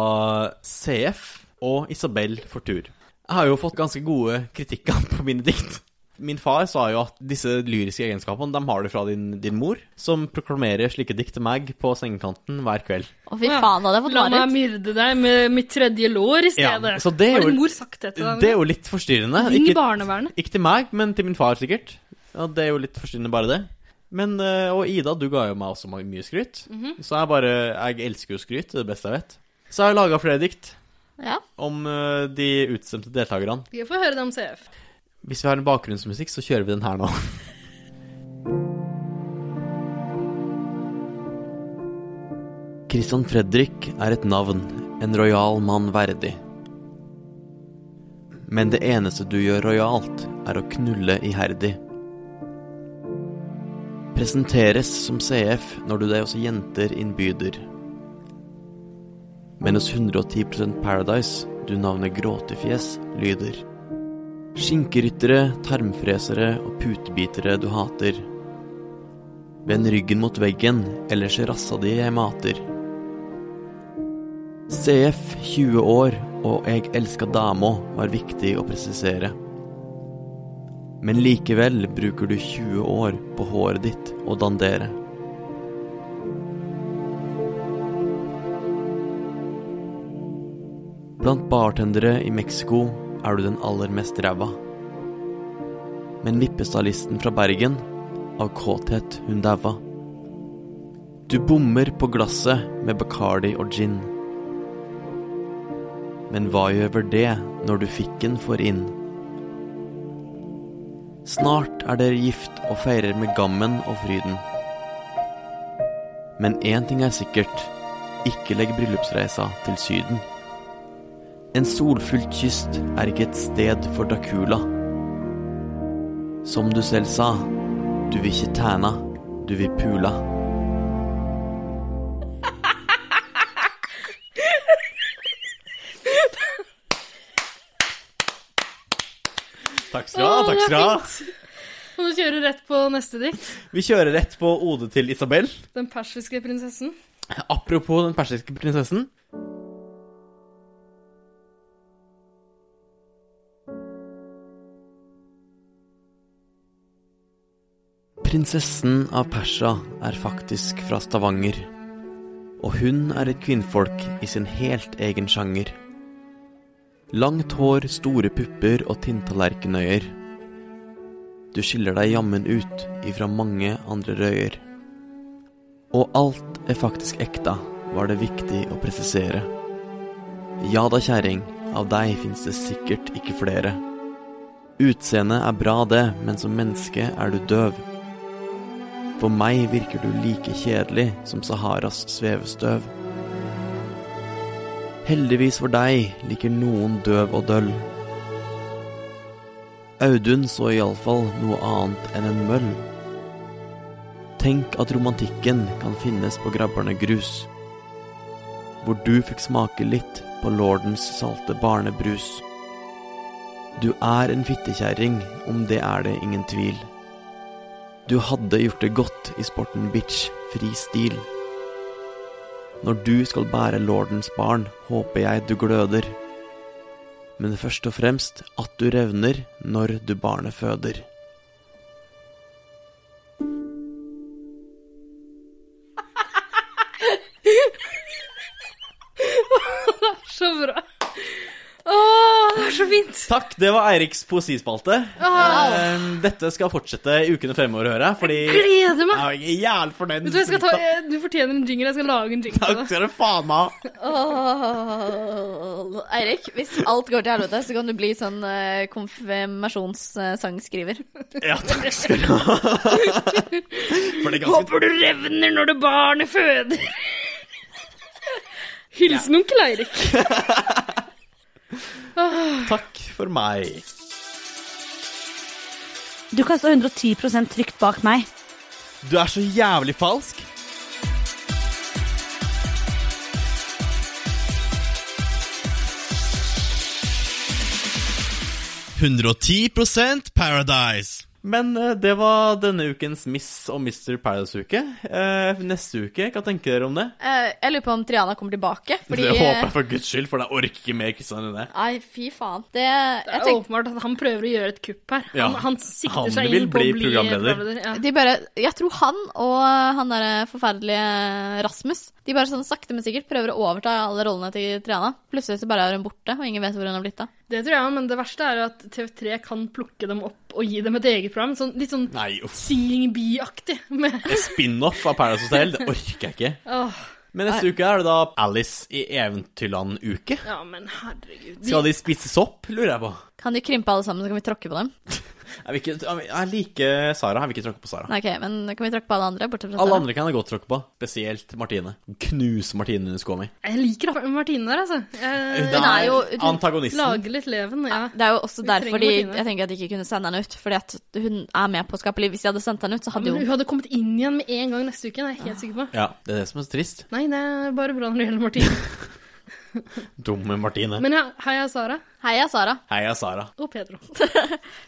S4: CF og Isabel for tur. Jeg har jo fått ganske gode kritikker på mine dikt. Min far sa jo at disse lyriske egenskapene de har du fra din, din mor, som proklamerer slike dikt til meg på sengekanten hver kveld.
S3: Å, fy faen, hadde jeg fått
S1: La meg
S3: mareritt.
S1: myrde deg med mitt tredje lår i
S4: Ja,
S1: stedet.
S4: så det er
S1: har
S4: jo-
S1: din mor sagt det til deg?
S4: Det er jo litt forstyrrende.
S1: Ring
S4: Ikke-
S1: barnevernet.
S4: Ikke til meg, men til min far sikkert. Ja, det er jo litt forstyrrende, bare det. Men, eh, Og Ida, du ga jo meg også ma- mye skryt. Så jeg bare Jeg elsker jo skryt. Det er det beste jeg vet. Så jeg har laga flere dikt
S3: Ja.
S4: om eh, de utstemte deltakerne.
S1: Vi får høre det om CF.
S4: Hvis vi har en bakgrunnsmusikk, så kjører vi den her nå. Christian Fredrik er et navn, en rojal mann verdig. Men det eneste du gjør rojalt, er å knulle iherdig. Presenteres som CF når du deg også jenter innbyder. Men hos 110 Paradise, du navnet Gråtefjes, lyder. Skinkeryttere, tarmfresere og putebitere du hater. Vend ryggen mot veggen, ellers er rassa di jeg mater. CF 20 år og Jeg elska dama var viktig å presisere. Men likevel bruker du 20 år på håret ditt å dandere. Blant bartendere i Mexico er du den aller mest ræva. Men vippestadlisten fra Bergen, av kåthet hun daua. Du bommer på glasset med Bacardi og gin. Men hva gjør vel det når du fikken får inn? Snart er dere gift og feirer med gammen og fryden. Men én ting er sikkert, ikke legg bryllupsreisa til Syden. En solfylt kyst er ikke et sted for Dakula. Som du selv sa, du vil ikke tæna, du vil pula. Takk skal du ha.
S1: Å,
S4: takk
S1: det
S4: skal du
S1: er
S4: ha.
S1: fint. Kan du kjøre rett på neste dikt?
S4: Vi kjører rett på odet til Isabel.
S1: Den persiske prinsessen.
S4: Apropos den persiske prinsessen. Prinsessen av Persia er faktisk fra Stavanger. Og hun er et kvinnfolk i sin helt egen sjanger. Langt hår, store pupper og tinntallerkenøyer. Du skiller deg jammen ut ifra mange andre røyer. Og alt er faktisk ekta, var det viktig å presisere. Ja da, kjerring, av deg fins det sikkert ikke flere. Utseendet er bra, det, men som menneske er du døv. For meg virker du like kjedelig som Saharas svevestøv. Heldigvis for deg liker noen døv og døll. Audun så iallfall noe annet enn en møll. Tenk at romantikken kan finnes på Grabberne grus, hvor du fikk smake litt på lordens salte barnebrus. Du er en fittekjerring, om det er det ingen tvil. Du hadde gjort det godt i sporten bitch, fri stil. Når du skal bære lordens barn, håper jeg du gløder. Men først og fremst at du revner når du barnet føder.
S1: det er så bra. Åh, det er så fint.
S4: Takk, det var Eiriks poesispalte.
S1: Wow.
S4: Ehm, Dette skal fortsette i ukene fremover, hører jeg. Fordi
S1: Jeg gleder meg.
S4: Ja, Jeg er jævlig fornøyd.
S1: Vet du, hva, jeg skal ta, jeg, du fortjener en jingle. Jeg skal lage en jingle.
S4: Takk skal du faen meg ha.
S3: Åh, Eirik, hvis alt går til helvete, så kan du bli sånn eh, konfirmasjonssangskriver.
S4: Ja, takk skal du ha. For det er ganske
S1: Håper du revner når du barnet føder. Hilsen onkel Eirik.
S4: Takk for meg.
S10: Du kan stå 110 trygt bak meg.
S4: Du er så jævlig falsk. Paradise. Men eh, det var denne ukens Miss og Mr. Paradise-uke. Eh, neste uke, hva tenker dere om det?
S3: Eh, jeg lurer på om Triana kommer tilbake, fordi eh,
S4: Det håper jeg for guds skyld, for jeg orker ikke mer Kristian enn det.
S3: Nei, fy faen. Det,
S1: Det er åpenbart at han prøver å gjøre et kupp her.
S4: Ja.
S1: Han, han sikter
S4: Han
S1: seg
S4: vil
S1: inn på å
S4: bli
S1: bli
S4: programleder.
S1: ja.
S3: De bare, jeg tror han og eh, han der forferdelige Rasmus De bare sånn sakte, men sikkert prøver å overta alle rollene til Triana. Plutselig så bare er hun borte, og ingen vet hvor hun har blitt av.
S1: Det tror jeg, men det verste er jo at TV3 kan plukke dem opp og gi dem et eget program. Sånn, litt sånn
S4: Nei, uff.
S1: Seeing Bee-aktig. med-
S4: Spin-off av Paradise Hotel, det orker jeg ikke.
S1: Åh,
S4: Men neste uke er det da Alice i Eventyrland-uke.
S1: Ja, men herregud.
S4: Skal de spise sopp, lurer jeg på.
S3: Kan de krympe alle sammen, så kan vi tråkke på dem?
S4: Jeg, vil ikke, jeg liker Sara. Jeg vil ikke tråkke på Sara.
S3: Nei, ok, men kan vi tråkke på alle andre? Bortsett fra
S4: Alle
S3: Sara.
S4: andre kan jeg godt tråkke på, spesielt Martine. Knus Martine under skoa mi.
S1: Jeg liker Martine der, altså. Jeg,
S4: Hun er jo- hun antagonisten.
S1: Lager litt leven, ja.
S3: Det er jo også
S1: Vi
S3: derfor
S1: trenger
S3: de,
S1: Martine.
S3: jeg tenker at de ikke kunne sende henne ut. Fordi at hun er med på å skape liv. Hvis de hadde sendt henne ut, så hadde
S1: Men hun
S3: jo
S1: hadde kommet inn igjen med en gang neste uke, det er jeg helt sikker på.
S4: Ja, Det er det som er så trist.
S1: Nei, det er bare bra når det gjelder Martine.
S4: Dumme Martine.
S1: Men ja, heia Sara.
S3: Heia Sara.
S4: Heia Sara.
S1: Og Pedro.
S4: Vel,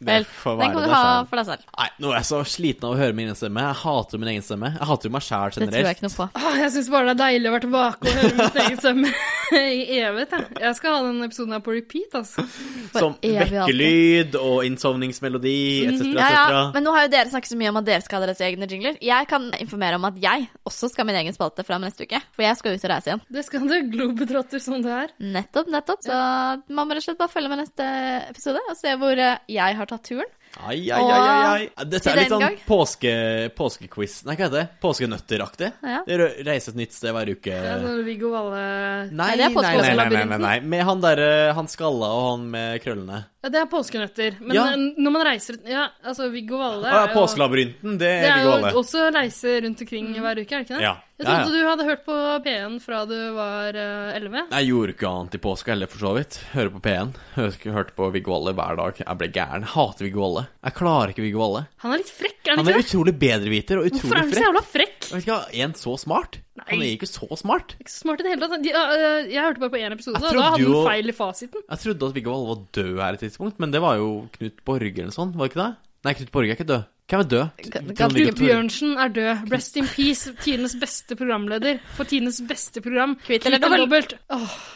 S4: den
S3: for deg selv.
S4: Nei, nå er jeg så sliten av å høre min egen stemme. Jeg hater min egen stemme. Jeg hater jo meg sjæl generelt.
S3: noe på.
S1: Åh, jeg syns bare det er deilig å være tilbake og høre min egen stemme i evighet. Jeg. jeg skal ha den episoden her på repeat, altså.
S4: Som vekkelyd og innsovningsmelodi etc.
S3: Mhm.
S4: Et
S3: ja, ja.
S4: cetera.
S3: Men nå har jo dere snakket så mye om at dere skal ha deres egne jingler. Jeg kan informere om at jeg også skal ha min egen spalte fra neste uke. For jeg skal ut og reise igjen.
S1: Det skal du, globetrotter som du er.
S3: Nettopp, nettopp. Så man må rett og slett bare følge med neste episode og se hvor eh, jeg har tatt turen.
S4: Ai, ai, ai, ai, ai. Dette
S3: Til
S4: er litt
S3: den
S4: sånn
S3: gang.
S4: påske, påskequiz Nei, hva heter det? Påskenøtteraktig?
S3: Ja.
S4: Det er å Reise et nytt sted hver uke.
S1: Det er sånn Viggo Valle
S4: Nei, nei, nei, nei, nei, nei, nei. Med han derre Han skalla og han med krøllene.
S1: Ja, det er påskenøtter. Men
S4: Ja.
S1: eh, når man reiser Ja, altså, Viggo Valle
S4: Å ja,
S1: er jo-
S4: Påskelabyrinten. Det
S1: Det er
S4: vil
S1: jo
S4: jo alle.
S1: også å reise rundt omkring hver uke, er det ikke det?
S4: Ja.
S1: Jeg
S4: Ja, ja.
S1: trodde du hadde hørt på P1 fra du var eh, 11.
S4: Jeg gjorde ikke annet i påska heller, for så vidt. Hører på P1. Hørte hørte på Viggo Valle hver dag. Jeg ble gæren. Hater Viggo Valle. Jeg klarer ikke Viggo Valle.
S1: Han er litt frekk, er han
S4: Han
S1: ikke
S4: er
S1: det?
S4: utrolig bedreviter og
S1: Hvorfor er
S4: utrolig
S1: han så
S4: frekk.
S1: jævla frekk?
S4: Jeg vet ikke, Er han så smart? Han er ikke så smart.
S1: Ikke så smart i det hele tatt. De, eh, jeg hørte bare på én episode,
S4: Jeg
S1: og da
S4: trodde
S1: hadde
S4: jo-
S1: han feil i fasiten.
S4: Jeg trodde at Viggo Valle var død her et tidspunkt, men det var jo Knut Borge eller sånn, var det ikke det? Nei, Knut Borge er ikke død. Hvem er død?
S1: Knut Bjørnsen er død. Rest in peace, tidenes beste programleder for tidenes beste program. Kvitt
S3: eller dobbelt.
S1: Åh,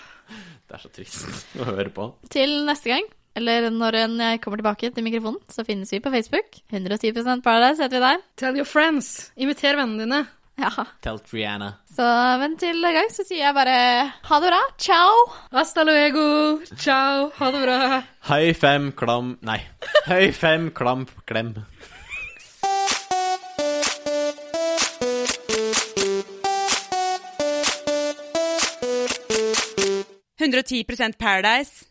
S4: Det er så trist å høre på.
S3: Til neste gang, eller når en jeg kommer tilbake til mikrofonen, så finnes vi på Facebook. 110 Paradise heter vi der.
S1: Tell your friends. Inviter vennene dine.
S3: Ja.
S4: Tell Triana.
S3: Så vent til en gang, så sier jeg bare ha det bra. Ciao!
S1: Hasta luego. Ciao. Ha det bra.
S4: Høy fem klam... Nei. Høy fem klam klem.
S2: Paradise.